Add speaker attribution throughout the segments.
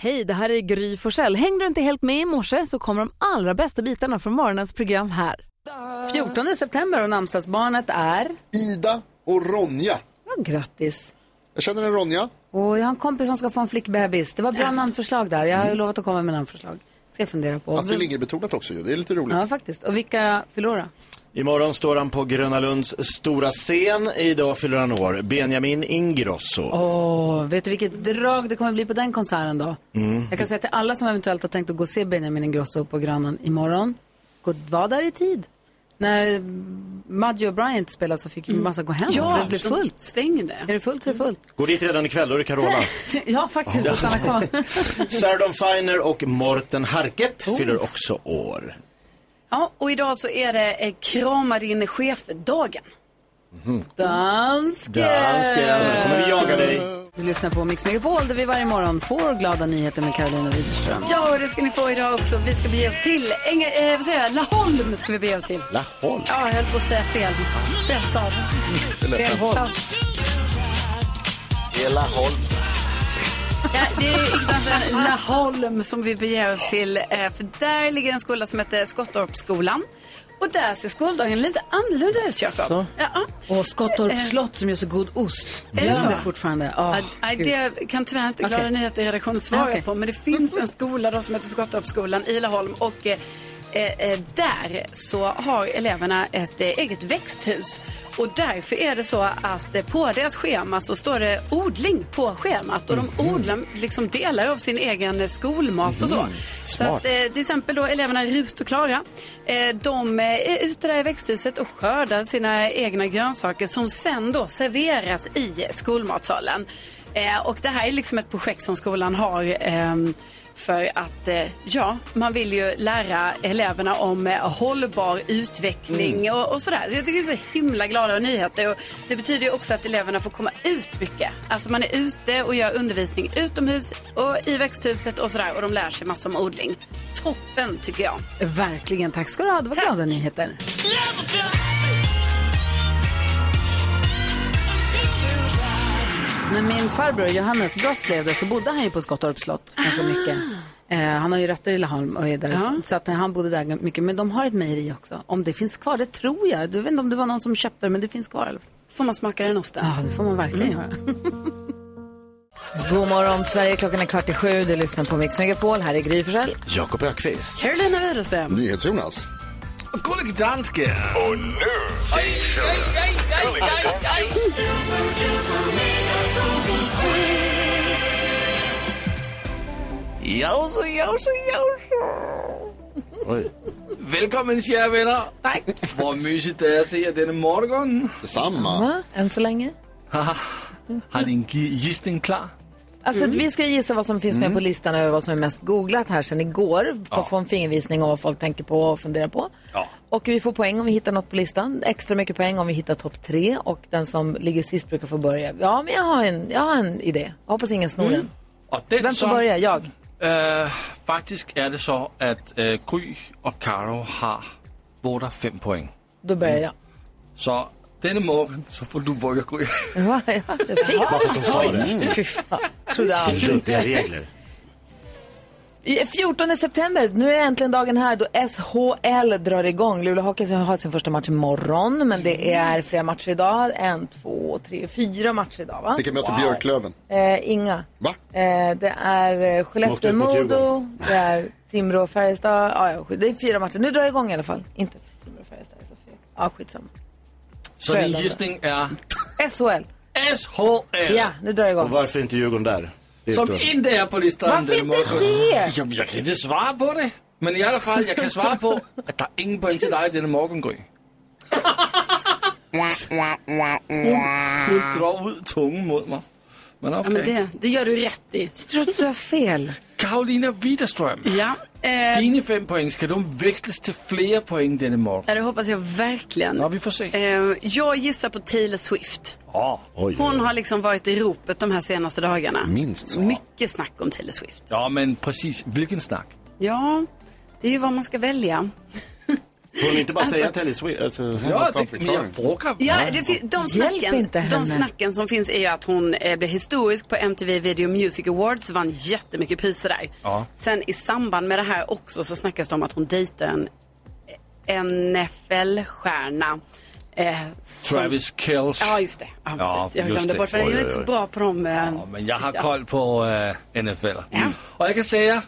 Speaker 1: Hej, det här är Gry Forssell. Hängde du inte helt med i morse så kommer de allra bästa bitarna från morgonens program här. 14 september och namnsdagsbarnet är...
Speaker 2: Ida och Ronja.
Speaker 1: Ja, grattis.
Speaker 2: Jag känner en Ronja.
Speaker 1: Och jag har en kompis som ska få en flickbebis. Det var bra namnförslag där. Jag har ju lovat att komma med namnförslag. Ska jag fundera på.
Speaker 2: Astrid Lindgren-betonat också ju. Det är lite roligt.
Speaker 1: Ja, faktiskt. Och vilka förlorar?
Speaker 3: Imorgon står han på Gröna Lunds stora scen. Idag fyller han år. Benjamin Ingrosso.
Speaker 1: Åh, vet du vilket drag det kommer bli på den konserten då? Jag kan säga till alla som eventuellt har tänkt att gå och se Benjamin Ingrosso på Grönan imorgon, gå, var där i tid. När Maggio och Bryant spelade så
Speaker 4: Mm.
Speaker 1: fick ju massa gå hem, för det blev fullt.
Speaker 4: Stängde.
Speaker 1: Är det fullt så är det fullt.
Speaker 3: Går dit redan ikväll, då är det Carola.
Speaker 1: Ja, faktiskt, att stanna kvar.
Speaker 3: Sardon Finer och Morten Harket fyller också år.
Speaker 4: Ja, och idag så är det eh, krama din chef-dagen.
Speaker 1: Dansken!
Speaker 3: Dansken, då kommer vi jaga dig.
Speaker 1: Du lyssnar på Mix Megapol där vi varje morgon får glada nyheter med Carolina Widerström.
Speaker 4: Ja, och det ska ni få idag också. Vi ska bege oss till Eng eh, vad säger jag? Laholm. Ska vi bege oss till.
Speaker 3: Laholm.
Speaker 4: Ja, jag höll på att säga fel. Fel stad.
Speaker 1: Fel håll.
Speaker 2: Hela håll.
Speaker 4: Ja, det är utanför Laholm som vi beger oss till. eh, För där ligger en skola som heter Skottorpsskolan. Och där ser skoldagen lite annorlunda ut, Jakob.
Speaker 3: Så.
Speaker 4: Ja, Eh.
Speaker 1: Och Skottorps slott som gör så god ost.
Speaker 4: det
Speaker 1: Gör
Speaker 4: så?
Speaker 1: det fortfarande? Oh,
Speaker 4: Ja, nej, det kan tyvärr inte Glada
Speaker 1: Okej. Ah,
Speaker 4: Nyheter i redaktionen svara
Speaker 1: Okej.
Speaker 4: på. Men det finns en skola då som heter Skottorpsskolan i Laholm. Och eh, eh, där så har eleverna ett eh, eget växthus. Och därför är det så att eh, på deras schema så står det odling på schemat. Och
Speaker 1: Mhm.
Speaker 4: de odlar liksom delar av sin egen eh, skolmat och så. Så
Speaker 3: Smart.
Speaker 4: att, eh, till exempel då eleverna Rut och Klara. Eh, de eh, är ute där i växthuset och skördar sina egna grönsaker som sen då serveras i skolmatsalen. Eh, och det här är liksom ett projekt som skolan har ehm, för att eh, ja, man vill ju lära eleverna om eh, hållbar utveckling
Speaker 5: Mm.
Speaker 4: och, och sådär. Jag tycker det är så himla glada nyheter och det betyder ju också att eleverna får komma ut mycket. Alltså man är ute och gör undervisning utomhus och i växthuset och sådär och de lär sig massor om odling. Toppen tycker jag.
Speaker 1: Verkligen. Tack ska du ha. Det var
Speaker 4: Tack.
Speaker 1: glada nyheter. När min farbror Johannes Brost levde så bodde han ju på Skottorps slott
Speaker 6: Ah.
Speaker 1: ganska mycket. Eh, han har ju rötter i Laholm och är därifrån. Så att han bodde där gan- mycket. Men de har ett mejeri också. Om det finns kvar, det tror jag. Du vet inte om det var någon som köpte det, men det finns kvar i alla fall.
Speaker 4: Får man smaka den osten?
Speaker 1: Ja, det får man verkligen göra.
Speaker 6: Mm. God morgon, Sverige. Klockan är kvart i sju. Du lyssnar på Mix Megapol. Här är Gry Forssell.
Speaker 3: Jakob Ökvist.
Speaker 4: Carolina Widerström.
Speaker 2: NyhetsJonas.
Speaker 5: Gullig dansken. Jausu, jausu, jausu. Välkommen kära vänner. Tack. Vad mysigt det är att se er denna morgon.
Speaker 2: Detsamma.
Speaker 6: Va? Än så länge.
Speaker 5: Har ni en gi- gissning klar?
Speaker 6: Alltså, Vi ska ju gissa vad som finns med på listan över vad som är mest googlat här sedan igår. För att få en fingervisning om vad folk tänker på och funderar på.
Speaker 5: Ja.
Speaker 6: Och vi får poäng om vi hittar något på listan. Extra mycket poäng om vi hittar topp tre. Och den som ligger sist brukar få börja. Ja, men jag har en, jag har en idé. Jag hoppas ingen snor den.
Speaker 5: Och den
Speaker 6: Vem får
Speaker 5: som,
Speaker 6: börja? Jag.
Speaker 5: eh, faktiskt är det så att eh, Gry och Karo har båda fem poäng.
Speaker 6: Då börjar jag.
Speaker 5: Så denna morgon så får du börja Gry.
Speaker 6: Va? Ja, det är fint.
Speaker 3: Bara för att de sa det.
Speaker 6: Fy fan. Trodde
Speaker 3: Så
Speaker 6: aldrig.
Speaker 3: Luddiga regler.
Speaker 6: I- 14 september, nu är äntligen dagen här då SHL drar igång. Luleå Hockey har sin första match imorgon, men det är flera matcher idag. En, två, tre, fyra matcher idag va?
Speaker 2: Vilka möter Björklöven?
Speaker 6: Eh, inga.
Speaker 2: Va?
Speaker 6: Eh, det är eh,
Speaker 3: Åkte ut mot
Speaker 6: Skellefteå-Modo, det är Timrå och Färjestad. Ja, ja, skit- det är fyra matcher. Nu drar det igång i alla fall. Inte för Timrå och Färjestad, det är så fel. Ja, skitsamma.
Speaker 5: Så din
Speaker 6: Själv.
Speaker 5: gissning är
Speaker 6: SHL.
Speaker 5: SHL.
Speaker 6: Ja, nu drar det igång.
Speaker 3: Och varför inte Djurgården där? Det är
Speaker 5: Som
Speaker 3: stor-
Speaker 5: inte är på listan
Speaker 6: Varför
Speaker 5: denna
Speaker 6: inte
Speaker 5: morgon.
Speaker 6: det?
Speaker 5: Jamen, jag kan inte svara på det. Men i alla fall, jag kan svara på att det är ingen poäng till dig denna morgon, Gry. Hon drar ut tungan mot mig. Men
Speaker 4: Ja,
Speaker 5: okej.
Speaker 4: men det, det gör du rätt i.
Speaker 6: Jag trodde du har fel.
Speaker 5: Karolina Widerström.
Speaker 4: Ja. Eh,
Speaker 5: Dina fem poäng ska de växlas till fler poäng denna morgon.
Speaker 4: ja, det hoppas jag verkligen.
Speaker 5: Ja, vi får se.
Speaker 4: Eh, jag gissar på Taylor Swift.
Speaker 5: Ja,
Speaker 3: Oj, oj,
Speaker 4: Hon har liksom varit i ropet de här senaste dagarna.
Speaker 2: Minst.
Speaker 4: Mycket snack om Taylor Swift.
Speaker 5: ja men precis. Vilken snack.
Speaker 4: Ja, det är ju vad man ska välja.
Speaker 3: Får hon inte bara säga Teddy Swift? Alltså,
Speaker 5: Ja,
Speaker 2: måste ha en
Speaker 5: det, men jag
Speaker 2: förklaring.
Speaker 5: frågar.
Speaker 4: Ja, det fin- de, snacken,
Speaker 6: inte henne.
Speaker 4: de snacken som finns är ju att hon eh, blev historisk på MTV Video Music Awards, vann jättemycket priser där.
Speaker 5: Ja.
Speaker 4: Sen i samband med det här också så snackas det om att hon dejtar eh, en NFL-stjärna. Eh, som-
Speaker 5: Travis Kells.
Speaker 4: Ja, just det. Ja,
Speaker 5: Ja,
Speaker 4: precis. Jag
Speaker 5: just
Speaker 4: glömde
Speaker 5: det.
Speaker 4: bort, för jag
Speaker 5: Oj,
Speaker 4: är
Speaker 5: oj,
Speaker 4: inte så
Speaker 5: oj.
Speaker 4: bra på dem. eh,
Speaker 5: Ja, men jag har koll på eh, NFL. Och jag kan säga,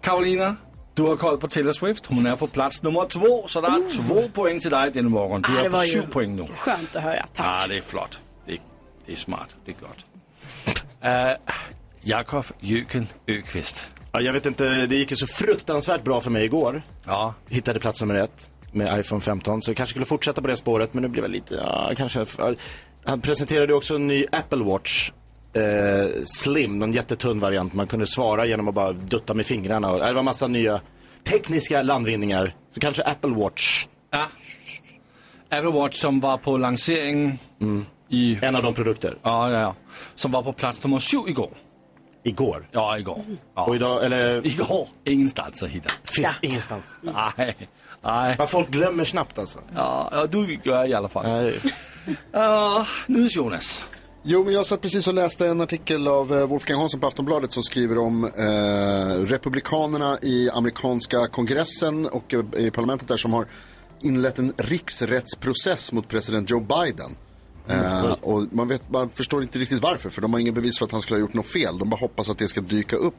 Speaker 5: Karolina, du har koll på Taylor Swift. Hon är på plats nummer två, så det är
Speaker 4: Uh.
Speaker 5: två poäng till dig denna morgon. Du
Speaker 4: Ah, det
Speaker 5: är på
Speaker 4: var
Speaker 5: sju
Speaker 4: ju-
Speaker 5: poäng nu.
Speaker 4: Skönt att höra. Tack.
Speaker 5: Ja, det är flott. Det är, det är smart. Det är gott. Eh, Jakob Jöken Öqvist.
Speaker 3: ja, jag vet inte, det gick ju så fruktansvärt bra för mig igår.
Speaker 5: Ja.
Speaker 3: Hittade plats nummer ett med iPhone 15, så jag kanske skulle fortsätta på det spåret, men det blev väl lite, ja, kanske. ja. Han presenterade ju också en ny Apple Watch. Eh, slim, någon jättetunn variant. Man kunde svara genom att bara dutta med fingrarna. Och, det var massa nya tekniska landvinningar. Så kanske Apple Watch,
Speaker 5: Ja. Apple Watch som var på lanseringen i...
Speaker 3: en av de produkter.
Speaker 5: Ja, ja, ja. Som var på plats nummer sju igår.
Speaker 3: Igår.
Speaker 5: Ja, igår. Ja.
Speaker 3: Och idag, eller
Speaker 5: Igår. Ingenstans att hitta.
Speaker 3: finns ingenstans.
Speaker 5: Nej. Nej.
Speaker 3: Vad folk glömmer snabbt alltså. Eh,
Speaker 5: Ja, ja, du gör i alla fall.
Speaker 3: Nej.
Speaker 5: Ja, nu Jonas.
Speaker 2: Jo, men jag satt precis och läste en artikel av eh, Wolfgang Hansson på Aftonbladet som skriver om eh, republikanerna i amerikanska kongressen och eh, i parlamentet där som har inlett en riksrättsprocess mot president Joe Biden. Eh, och man, vet, man förstår inte riktigt varför, för de har ingen bevis för att han skulle ha gjort något fel. De bara hoppas att det ska dyka upp.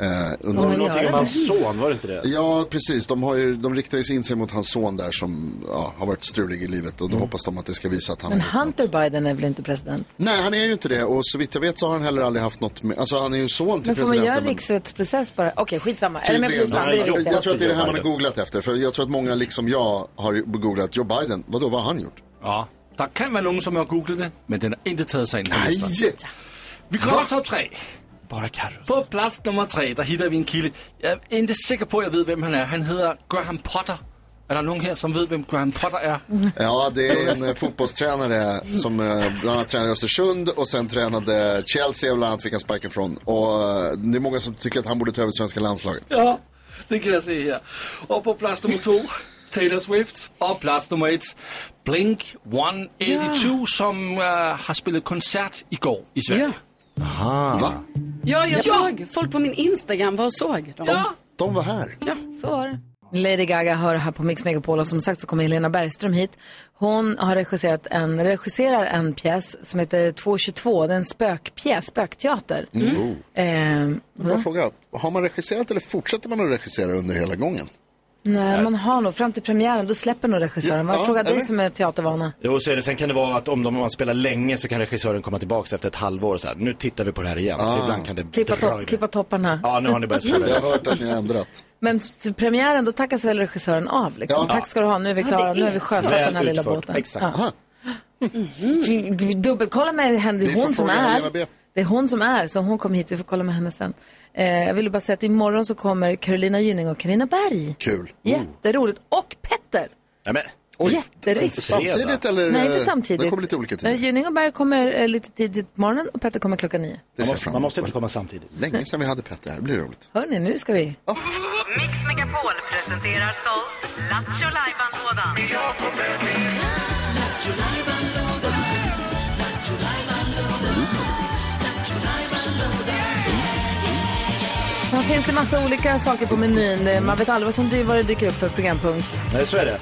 Speaker 2: Eh, under...
Speaker 6: men
Speaker 3: Någonting
Speaker 6: gör
Speaker 3: om
Speaker 6: det.
Speaker 3: hans son, var det inte det?
Speaker 2: Ja, precis. De, har ju, de riktar ju in sig mot hans son där som ja, har varit strulig i livet och då hoppas de att det ska visa att han har
Speaker 6: Men
Speaker 2: gjort något.
Speaker 6: Hunter Biden är väl inte president?
Speaker 2: Nej, han är ju inte det. Och så vitt jag vet så har han heller aldrig haft något med... Alltså han är ju son till
Speaker 6: Men får man
Speaker 2: presidenten.
Speaker 6: göra liksom- en riksrättsprocess bara? Okej, skitsamma. Är det med
Speaker 2: Tydligen.
Speaker 6: polisman? Det är det
Speaker 2: jag,
Speaker 6: viktiga.
Speaker 2: jag tror att det är det här man har googlat efter. För jag tror att många, liksom jag, har ju googlat Joe Biden. Vadå, vad har han gjort?
Speaker 5: Ja, der kan være nogen, som har googlet det, men den har ikke taget sig ind på listen.
Speaker 2: Nej!
Speaker 5: Vi kommer til top 3. På plads nummer 3, der hitter vi en kilde. Jeg er ikke sikker på, at jeg ved, hvem han er. Han hedder Graham Potter. Er der nogen her, som ved, hvem Graham Potter er?
Speaker 2: Ja, det är en eh, fotbollstränare som eh, bland annat tränade i Östersund och sen tränade Chelsea och bland annat fick han sparken från. Och eh, det är många som tycker att han borde ta över svenska landslaget.
Speaker 5: Ja, det kan jeg se her. Og på plads nummer 2, Taylor Swift. Og plads nummer 1, Blink 182, som øh, har spillet koncert i går i Sverige.
Speaker 4: Ja.
Speaker 2: Va?
Speaker 4: Ja, jag såg. Folk på min Instagram var och såg dem. Ja.
Speaker 2: De var här.
Speaker 6: Så var det. Lady Gaga hör här på Mix Megapol och som sagt så kommer Helena Bergström hit. Hon har regisserat en, regisserar en pjäs som heter 222. Det är en spökpjäs, spökteater.
Speaker 2: Mm. Oh.
Speaker 6: Eh,
Speaker 2: Bara fråga, har man regisserat eller fortsätter man att regissera under hela gången?
Speaker 6: nej, man har nog fram till premiären, då släpper nog regissören. Man
Speaker 2: Ja,
Speaker 6: frågar dig
Speaker 2: eller?
Speaker 6: som är teatervana.
Speaker 3: Jo, så är det. Sen kan det vara att om de, om man spelar länge så kan regissören komma tillbaka efter ett halvår och så här, nu tittar vi på det här igen.
Speaker 2: Ah.
Speaker 3: Så ibland kan det
Speaker 6: Klippa,
Speaker 3: dra
Speaker 6: to-
Speaker 3: iväg.
Speaker 6: klippa topparna.
Speaker 3: Ja, nu har ni börjat spela.
Speaker 2: Jag har hört att ni har ändrat.
Speaker 6: Men till premiären, då tackas väl regissören av liksom.
Speaker 2: Ja.
Speaker 6: Tack ska du ha, nu är vi klara,
Speaker 4: det
Speaker 6: nu har
Speaker 4: är
Speaker 6: vi
Speaker 4: så.
Speaker 6: sjösatt den här
Speaker 3: Väl
Speaker 6: lilla
Speaker 3: utfört.
Speaker 6: båten.
Speaker 3: Exakt.
Speaker 6: Ja. Vi- vi Dubbelkolla med henne, det
Speaker 2: Ni
Speaker 6: är
Speaker 2: får
Speaker 6: hon som
Speaker 2: fråga
Speaker 6: är.
Speaker 2: Helena B.
Speaker 6: Det är hon som är, så hon kom hit, vi får kolla med henne sen. Eh, jag ville bara säga att imorgon så kommer Carolina Gynning och Carina Berg.
Speaker 2: Kul.
Speaker 6: Jätteroligt. Och Petter!
Speaker 3: Nej, men,
Speaker 6: Jätterikt.
Speaker 2: Samtidigt eller?
Speaker 6: Nej, inte
Speaker 2: Det
Speaker 6: samtidigt.
Speaker 2: Eh, kommer lite olika
Speaker 6: Nej,
Speaker 2: tider.
Speaker 6: Gynning och Berg kommer eh, lite tidigt på morgonen och Petter kommer klockan nio.
Speaker 2: Det ser jag fram
Speaker 3: man måste
Speaker 2: emot.
Speaker 3: inte komma samtidigt.
Speaker 2: Länge sedan vi hade Petter här, det blir roligt.
Speaker 6: Hör ni, nu ska vi...
Speaker 7: Mix Megapol presenterar stolt Lattjo Lajban-lådan.
Speaker 6: Det finns ju massa olika saker på menyn. Eh, Man vet aldrig vad som dy- vad det dyker upp för programpunkt.
Speaker 3: Nej, så är det.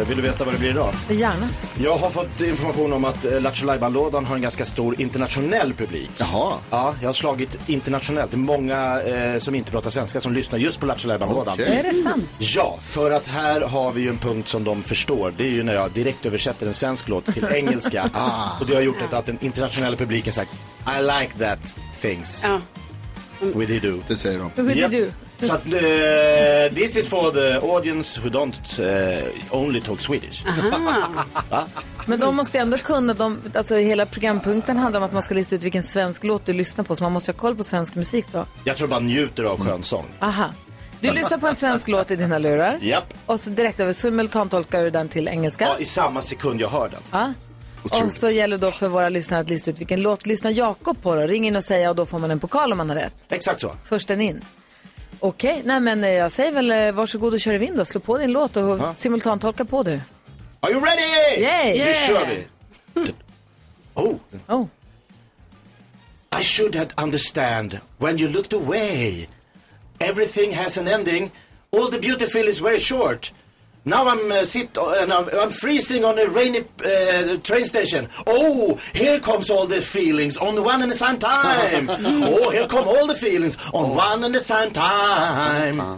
Speaker 3: Eh, vill du veta vad det blir idag?
Speaker 6: Gärna.
Speaker 3: Jag har fått information om att eh, Lattjo Lajban-lådan har en ganska stor internationell publik.
Speaker 2: Jaha.
Speaker 3: Ja, jag har slagit internationellt. Det är många eh, som inte pratar svenska som lyssnar just på Lattjo Lajban-lådan.
Speaker 2: Okej.
Speaker 6: Är det sant?
Speaker 3: Ja, för att här har vi ju en punkt som de förstår. Det är ju när jag direkt översätter en svensk låt till engelska. Och det har gjort att den internationella publiken sagt I like that things
Speaker 4: Ja.
Speaker 3: Um, we did do.
Speaker 2: Det säger de.
Speaker 6: Hur yep.
Speaker 3: Japp.
Speaker 6: du?
Speaker 3: Så att eh, this is for the audience who don't eh, only talk Swedish.
Speaker 6: Men de måste ju ändå kunna, de, alltså hela programpunkten handlar om att man ska lista ut vilken svensk låt du lyssnar på, så man måste ha koll på svensk musik då.
Speaker 3: Jag tror bara njuter av skönsång.
Speaker 6: Aha. Du lyssnar på en svensk låt i dina lurar.
Speaker 3: Japp.
Speaker 6: Och så direkt över simultantolkar du den till engelska.
Speaker 3: Ja, i samma sekund jag hör den.
Speaker 6: och så gäller då för våra lyssnare att lista ut vilken låt lyssnar Jakob på då. Ring in och säga och då får man en pokal om man har rätt.
Speaker 3: Exakt så.
Speaker 6: Först den in. Okej, nej men eh, jag säger väl eh, varsågod och kör i vind då. Slå på din låt och simultantolka på du.
Speaker 3: Are you ready? Nu
Speaker 6: Yay! Yeah.
Speaker 3: kör vi! Oh.
Speaker 6: Oh.
Speaker 3: I should have understand when you looked away. Everything has an ending. All the beautiful is very short. Now I'm uh, sit and I'm, I'm freezing on a rainy uh, train station. Oh, here comes all the feelings on one and the same time. oh, here come all the feelings on one and the same time. Oh,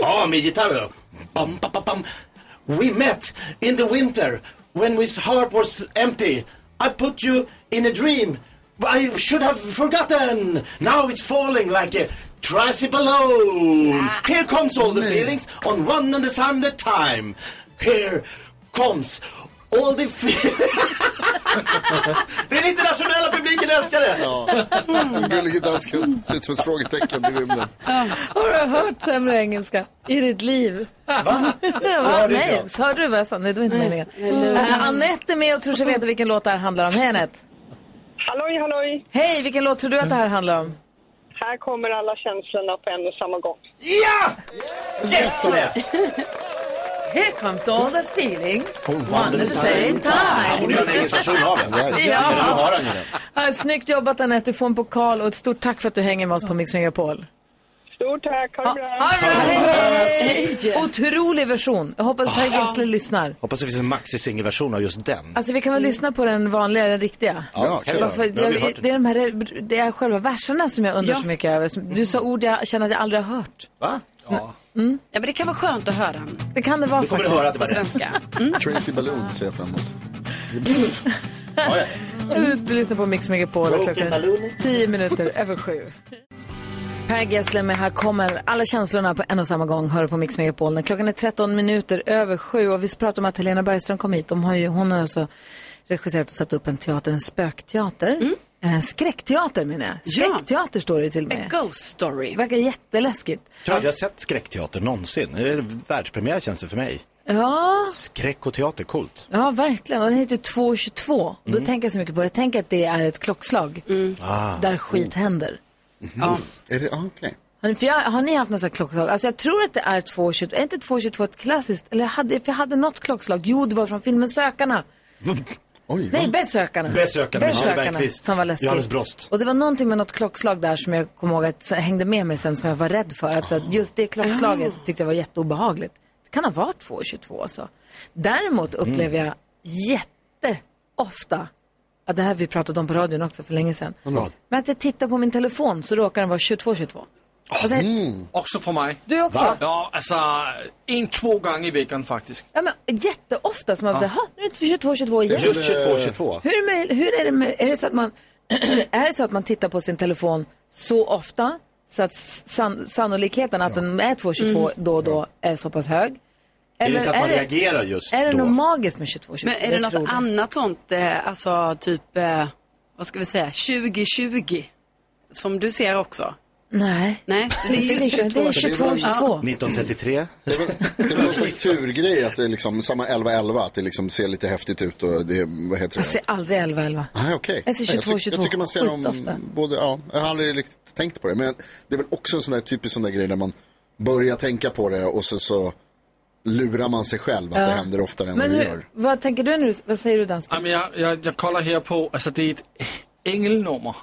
Speaker 3: Ja, med gitarr. då. Bam, bam, bam, bam. We met in the winter when his heart was empty. I put you in a dream. I should have forgotten. Now it's falling like a tricycle alone. Here comes all the feelings on one and the same time. Here comes all the feelings. Den internationella publiken älskar det.
Speaker 6: Mm.
Speaker 2: Den gullige dansken ser ut som ett frågetecken i rymden.
Speaker 6: Har du hört sämre engelska i ditt liv? Va? Nej, så hörde du vad jag sa? Nej, det var inte meningen. Äh, Anette är med och tror sig veta vilken låt det här handlar om. Hej Anette!
Speaker 8: Halloj, halloj!
Speaker 6: Hej, vilken låt tror du att det här handlar om?
Speaker 8: Här kommer alla känslorna på en och samma gång.
Speaker 3: Ja! Yes!
Speaker 6: Here comes all the feelings.
Speaker 3: One and the
Speaker 6: same time.
Speaker 3: Han borde göra en engelsk version av den.
Speaker 2: Ja.
Speaker 3: Men nu har han ju den.
Speaker 6: Ah, snyggt jobbat Anette, du får en pokal och ett stort tack för att du hänger med oss på Mix Megapol.
Speaker 8: Stort tack, ha det bra!
Speaker 6: Ah, bra, hej, hej. Otrolig version. Jag hoppas Per Gessle lyssnar.
Speaker 3: Hoppas det finns en maxi-singelversion av just den.
Speaker 6: Alltså vi kan väl lyssna på den vanliga, den riktiga.
Speaker 2: Ja,
Speaker 3: kan
Speaker 2: kul.
Speaker 3: jag.
Speaker 6: Varför,
Speaker 3: Nu har vi
Speaker 6: det,
Speaker 3: hört
Speaker 6: det, är de här, det är själva verserna som jag undrar
Speaker 4: Ja.
Speaker 6: så mycket över. Som- Du sa ord jag känner att jag aldrig har hört.
Speaker 3: Va?
Speaker 4: Ja, men det kan vara skönt att höra
Speaker 6: Det kan det vara
Speaker 3: Då kommer du
Speaker 6: faktiskt.
Speaker 3: höra att det
Speaker 4: på
Speaker 3: var rätt.
Speaker 4: svenska.
Speaker 2: Tracy Balloon ser jag fram emot.
Speaker 6: Du, du lyssnar på Mix Megapol och klockan är tio minuter över sju. Per Gessle med Här kommer alla känslorna på en och samma gång. Hör på Mix Megapol. När Klockan är 13 minuter över sju och vi pratar om att Helena Bergström kom hit. De har ju, hon har alltså regisserat och satt upp en teater, en spökteater. Eh, skräckteater menar jag.
Speaker 4: Ja.
Speaker 6: Skräckteater står det till och
Speaker 4: A
Speaker 6: med.
Speaker 4: ghost story.
Speaker 6: Det verkar jätteläskigt.
Speaker 3: Tror aldrig jag sett skräckteater någonsin. Det är världspremiär känns det för mig.
Speaker 6: Ja,
Speaker 3: Skräck och teater, coolt.
Speaker 6: ja verkligen. Och den heter ju 222. Då
Speaker 3: Mm.
Speaker 6: tänker jag så mycket på det. Jag tänker att det är ett klockslag
Speaker 3: Ah.
Speaker 6: där skit händer.
Speaker 2: Är det, ah, okej.
Speaker 6: Har ni, för jag, har ni haft något sånt här klockslag? Alltså jag tror att det är 2.22, är inte 2.22 ett klassiskt? Eller jag hade, för jag hade något klockslag. Jo, det var från filmen Sökarna.
Speaker 2: Oj,
Speaker 6: Nej,
Speaker 2: va?
Speaker 6: Besökarna.
Speaker 3: Besökarna med Kjell
Speaker 6: Besökarna,
Speaker 3: Mm. Bergqvist.
Speaker 6: som var läskigt.
Speaker 3: Johannes Brost.
Speaker 6: Och det var någonting med något klockslag där som jag kommer ihåg att så- hängde med mig sen som jag var rädd för. Att, så att just det klockslaget
Speaker 3: Ah.
Speaker 6: tyckte jag var jätteobehagligt. Det kan ha varit 2.22 alltså. Däremot upplever
Speaker 3: Mm.
Speaker 6: jag jätteofta att det här vi pratade om på radion också för länge sedan. Men att jag tittar på min telefon så råkar den vara 22.22. Alltså,
Speaker 5: Också för mig.
Speaker 6: Du också?
Speaker 5: Ja, alltså en, två gånger i veckan faktiskt.
Speaker 6: Ja, men jätteofta som man säger, "Ha, nu är det 22, 22 igen.
Speaker 3: Just 22, 22.
Speaker 6: Hur, är det möjligt- hur är det möjligt? Är det så att man, är det så att man tittar på sin telefon så ofta så att san, sannolikheten att den är 22, 22
Speaker 4: Mm.
Speaker 6: då och då är så pass
Speaker 3: Är
Speaker 6: hög?
Speaker 3: det
Speaker 6: Eller
Speaker 3: inte att man
Speaker 6: är det,
Speaker 3: reagerar just
Speaker 6: är det
Speaker 3: då?
Speaker 6: något magiskt med 22, 22?
Speaker 4: Men är det något annat sånt, eh, alltså typ, eh, vad ska vi säga, 2020? Som du ser också?
Speaker 6: Nej.
Speaker 4: Nej, det är ju 22.
Speaker 6: Det är 22, 22.
Speaker 3: 1933?
Speaker 2: Det är väl- det är väl någon slags turgrej att det är liksom samma 11-11, att det liksom ser lite häftigt ut och det, vad heter
Speaker 6: Jag
Speaker 2: det?
Speaker 6: ser aldrig 11, 11.
Speaker 2: Nej, okej.
Speaker 6: Jag ser
Speaker 2: Nej,
Speaker 6: 22,
Speaker 2: jag, tyck-
Speaker 6: 22.
Speaker 2: jag tycker man ser
Speaker 6: Skitofta.
Speaker 2: dem både, ja, jag har aldrig riktigt tänkt på det. Men det är väl också en sån där typisk sån där grej där man börjar tänka på det och sen så lurar man sig själv att det händer oftare än
Speaker 6: Men
Speaker 2: vad det
Speaker 6: hur,
Speaker 2: gör.
Speaker 6: vad tänker du nu? Vad säger du dansk?
Speaker 5: Jamen, jeg, jeg, jeg kolder her på, altså det er et engelnummer.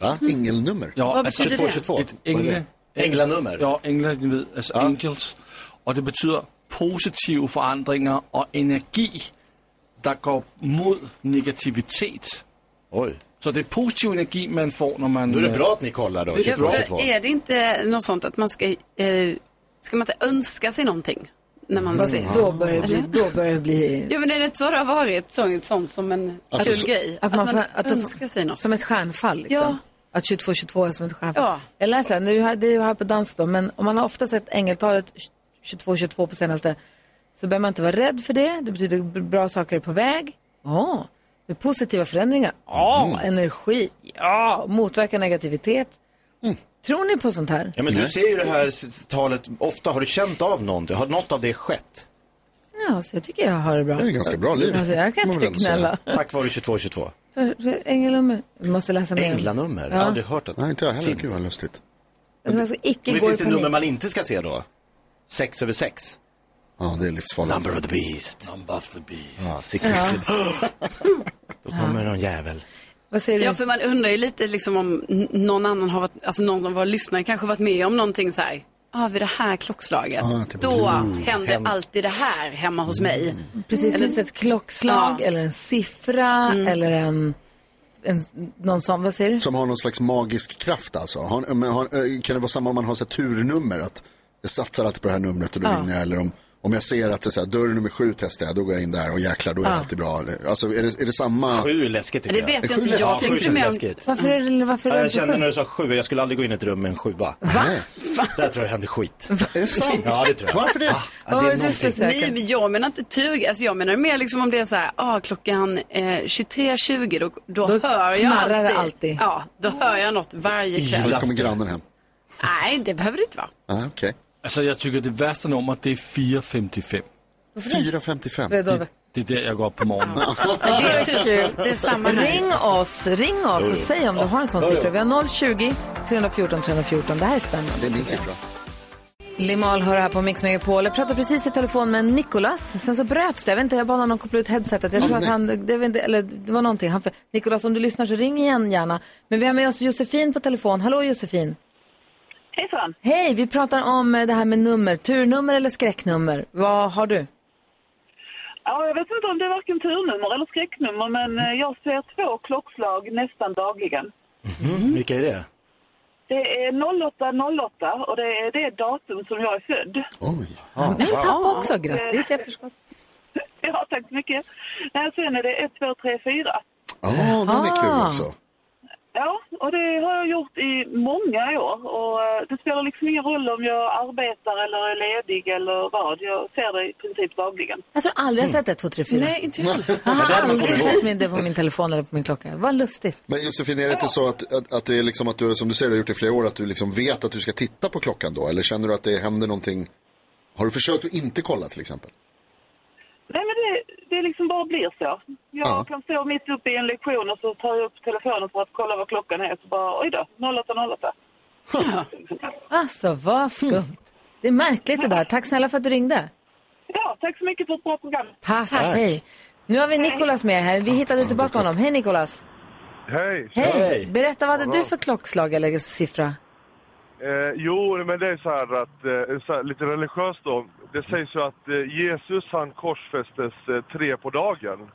Speaker 2: Ängelnummer.
Speaker 5: Ja,
Speaker 4: Hvad
Speaker 5: altså,
Speaker 4: betyder det?
Speaker 3: 2222.
Speaker 5: Et engle,
Speaker 3: Änglanummer.
Speaker 5: ja, engler, I ved, altså angels. Og det betyder positive forandringer og energi, der går mod negativitet.
Speaker 3: Oj.
Speaker 5: Så det er positiv energi, man får, når man...
Speaker 3: Då är det
Speaker 5: øh,
Speaker 3: bra att ni kollar då.
Speaker 5: Det
Speaker 4: Ja,
Speaker 3: 22,
Speaker 5: bra.
Speaker 4: för
Speaker 3: 22.
Speaker 4: är det inte något sånt att man ska, eh, ska man inte önska sig någonting? När
Speaker 2: Mm.
Speaker 4: man ser.
Speaker 6: Då börjar det bli, då börjar det bli
Speaker 4: Jo men är det inte så det har varit? Så, sånt som en
Speaker 2: Alltså,
Speaker 4: kul
Speaker 2: så-
Speaker 4: grej?
Speaker 6: Att man, får, att de-
Speaker 4: önskar sig något.
Speaker 6: Som ett stjärnfall liksom.
Speaker 4: Ja.
Speaker 6: Att 22-22 är som ett stjärnfall.
Speaker 4: Ja.
Speaker 6: Jag läser, nu, är- det är ju här på dans då, men om man har ofta sett ängeltalet 22-22 på senaste så behöver man inte vara rädd för det. Det betyder b- bra saker är på väg. Ja. Det är positiva förändringar. Ja. Energi. Ja. Motverka negativitet.
Speaker 2: Mm.
Speaker 6: Tror ni på sånt här?
Speaker 3: Ja, men du ser ju det här s- talet ofta. Har du känt av någonting? Har något av det skett?
Speaker 6: Ja, så jag tycker jag har det bra.
Speaker 2: Det är ett ganska bra liv.
Speaker 6: Alltså, jag kan
Speaker 2: får man väl
Speaker 6: inte
Speaker 2: ändå säga.
Speaker 6: knälla.
Speaker 3: Tack vare 2222.
Speaker 6: Ängelnummer. Vi måste läsa mer. om det.
Speaker 3: Änglanummer. Jag har aldrig hört att
Speaker 2: Nej, inte jag
Speaker 3: det
Speaker 2: heller. Gud vad lustigt.
Speaker 6: Den ska icke
Speaker 3: Men
Speaker 6: gå i
Speaker 3: finns det
Speaker 6: panik.
Speaker 3: nummer man inte ska se då? Sex över sex?
Speaker 2: Ja, det är livsfarligt.
Speaker 3: Number of the beast.
Speaker 5: Number of the beast.
Speaker 3: Ja, six, six, six. Då kommer någon jävel.
Speaker 6: Vad säger du?
Speaker 4: Ja, för man undrar ju lite liksom om n- någon annan har varit, alltså någon som var lyssnare kanske varit med om någonting så här. Ja, ah, vid det här klockslaget.
Speaker 2: Ah, typ,
Speaker 4: då händer alltid det här hemma hos mig.
Speaker 2: Mm.
Speaker 6: Precis, finns det ett klockslag
Speaker 4: Ja.
Speaker 6: eller en siffra eller en, en, någon sån, vad säger du?
Speaker 2: Som har någon slags magisk kraft alltså. Har, men har, eh, kan det vara samma om man har så här, turnummer? Att jag satsar alltid på det här numret och då vinner jag. Eller om, om jag ser att det är så här, dörr nummer sju testar jag, då går jag in där och jäklar, då är det alltid bra. Eller- Alltså är det, är det samma?
Speaker 3: Sju är läskigt
Speaker 4: Men
Speaker 3: tycker
Speaker 4: Det
Speaker 3: jag.
Speaker 4: vet
Speaker 2: Det
Speaker 4: jag inte.
Speaker 2: sjukt
Speaker 4: Jag
Speaker 2: läskigt.
Speaker 4: tänkte
Speaker 3: Sju
Speaker 4: mer
Speaker 3: känns
Speaker 4: om...
Speaker 3: läskigt.
Speaker 6: Varför är det, varför är
Speaker 3: Ja,
Speaker 6: det
Speaker 3: jag
Speaker 6: inte
Speaker 3: kände
Speaker 6: skönt?
Speaker 3: när du sa sju, jag skulle aldrig gå in i ett rum med en sjua.
Speaker 2: Nej.
Speaker 3: Där tror jag hände skit.
Speaker 2: Är det sant?
Speaker 3: Ja, det tror jag. Ah,
Speaker 2: Varför det?
Speaker 3: Ja, det är
Speaker 6: Ja, just det,
Speaker 3: någonting.
Speaker 6: säkert.
Speaker 4: Nej, men jag menar inte tug. Alltså jag menar mer liksom om det är så här, ah, klockan eh, 23.20 då, då,
Speaker 6: Då
Speaker 4: hör jag
Speaker 6: knarrar
Speaker 4: alltid.
Speaker 6: det alltid.
Speaker 4: Ja, då hör jag något varje
Speaker 2: Ja,
Speaker 4: kväll.
Speaker 2: Då kommer grannen hem.
Speaker 4: Nej, det behöver det inte vara.
Speaker 2: Ah, Okej.
Speaker 5: Altså, jeg tykker, det værste nummer, det er 455.
Speaker 2: 4.55.
Speaker 6: Rädd över.
Speaker 5: Det er der, jeg går op på morgenen.
Speaker 4: Det är, typ, det är samma här.
Speaker 6: Ring oss, ring oss och säg om du har en sån siffra. Vi har 020 314 314. Det här är spännande.
Speaker 2: Det är min siffra.
Speaker 6: Limal hör här på Mix Megapol. Jag pratade precis i telefon med Nicolas. Sen så bröts det. Jag vet inte, jag bad honom koppla ut headsetet. Jag tror att han, det, var inte, eller, det var någonting. Han, Nicolas, om du lyssnar så ring igen gärna. Men vi har med oss Josefin på telefon. Hallå Josefin.
Speaker 8: Hejsan.
Speaker 6: Hej, vi pratar om eh, det här med nummer. Turnummer eller skräcknummer? Vad har du?
Speaker 8: Ja, jag vet inte om det är varken turnummer eller skräcknummer, men eh, jag ser två klockslag nästan dagligen.
Speaker 3: Vilka är det?
Speaker 8: Det är 0808 och det är det datum som jag är född.
Speaker 2: Oj. Ah,
Speaker 6: Min pappa också. Grattis i efterskott.
Speaker 8: Ja, tack så mycket. Nej, sen är det 1234.
Speaker 2: Ja, den är kul också.
Speaker 8: Ja, och det har jag gjort i många år. Och eh, det spelar liksom ingen roll om jag arbetar eller är ledig eller vad. Jag ser det i princip dagligen.
Speaker 6: Jag tror aldrig jag sett ett, två, tre, fyra.
Speaker 4: Nej, inte jag.
Speaker 6: Jag har aldrig sett min, det på min telefon eller på min klocka. Vad lustigt.
Speaker 2: Men Josefin, är det inte så att, att, att det är liksom att du, som du säger, du har gjort det i flera år, att du liksom vet att du ska titta på klockan då? Eller känner du att det händer någonting? Har du försökt att inte kolla till exempel?
Speaker 8: Nej, men det, det liksom bara blir så. Jag
Speaker 2: Ja.
Speaker 8: kan stå mitt uppe i en lektion och så tar jag upp telefonen för att kolla vad klockan är. Så bara, oj då, 08.08.
Speaker 6: Alltså, vad skumt. Det är märkligt det där. Tack snälla för att du ringde.
Speaker 8: Ja, tack så mycket för ett bra program.
Speaker 6: Tack. Hej. Nu har vi Nicolas med här. Vi hittade tillbaka honom. Hej Nicolas.
Speaker 9: Hej!
Speaker 6: Hej.
Speaker 3: Hej.
Speaker 6: Berätta, vad hade du för klockslag eller siffra?
Speaker 9: Eh, jo, men det är så här att, eh, så här, lite religiöst då. Det sägs ju att eh, Jesus han korsfästes eh, tre på dagen.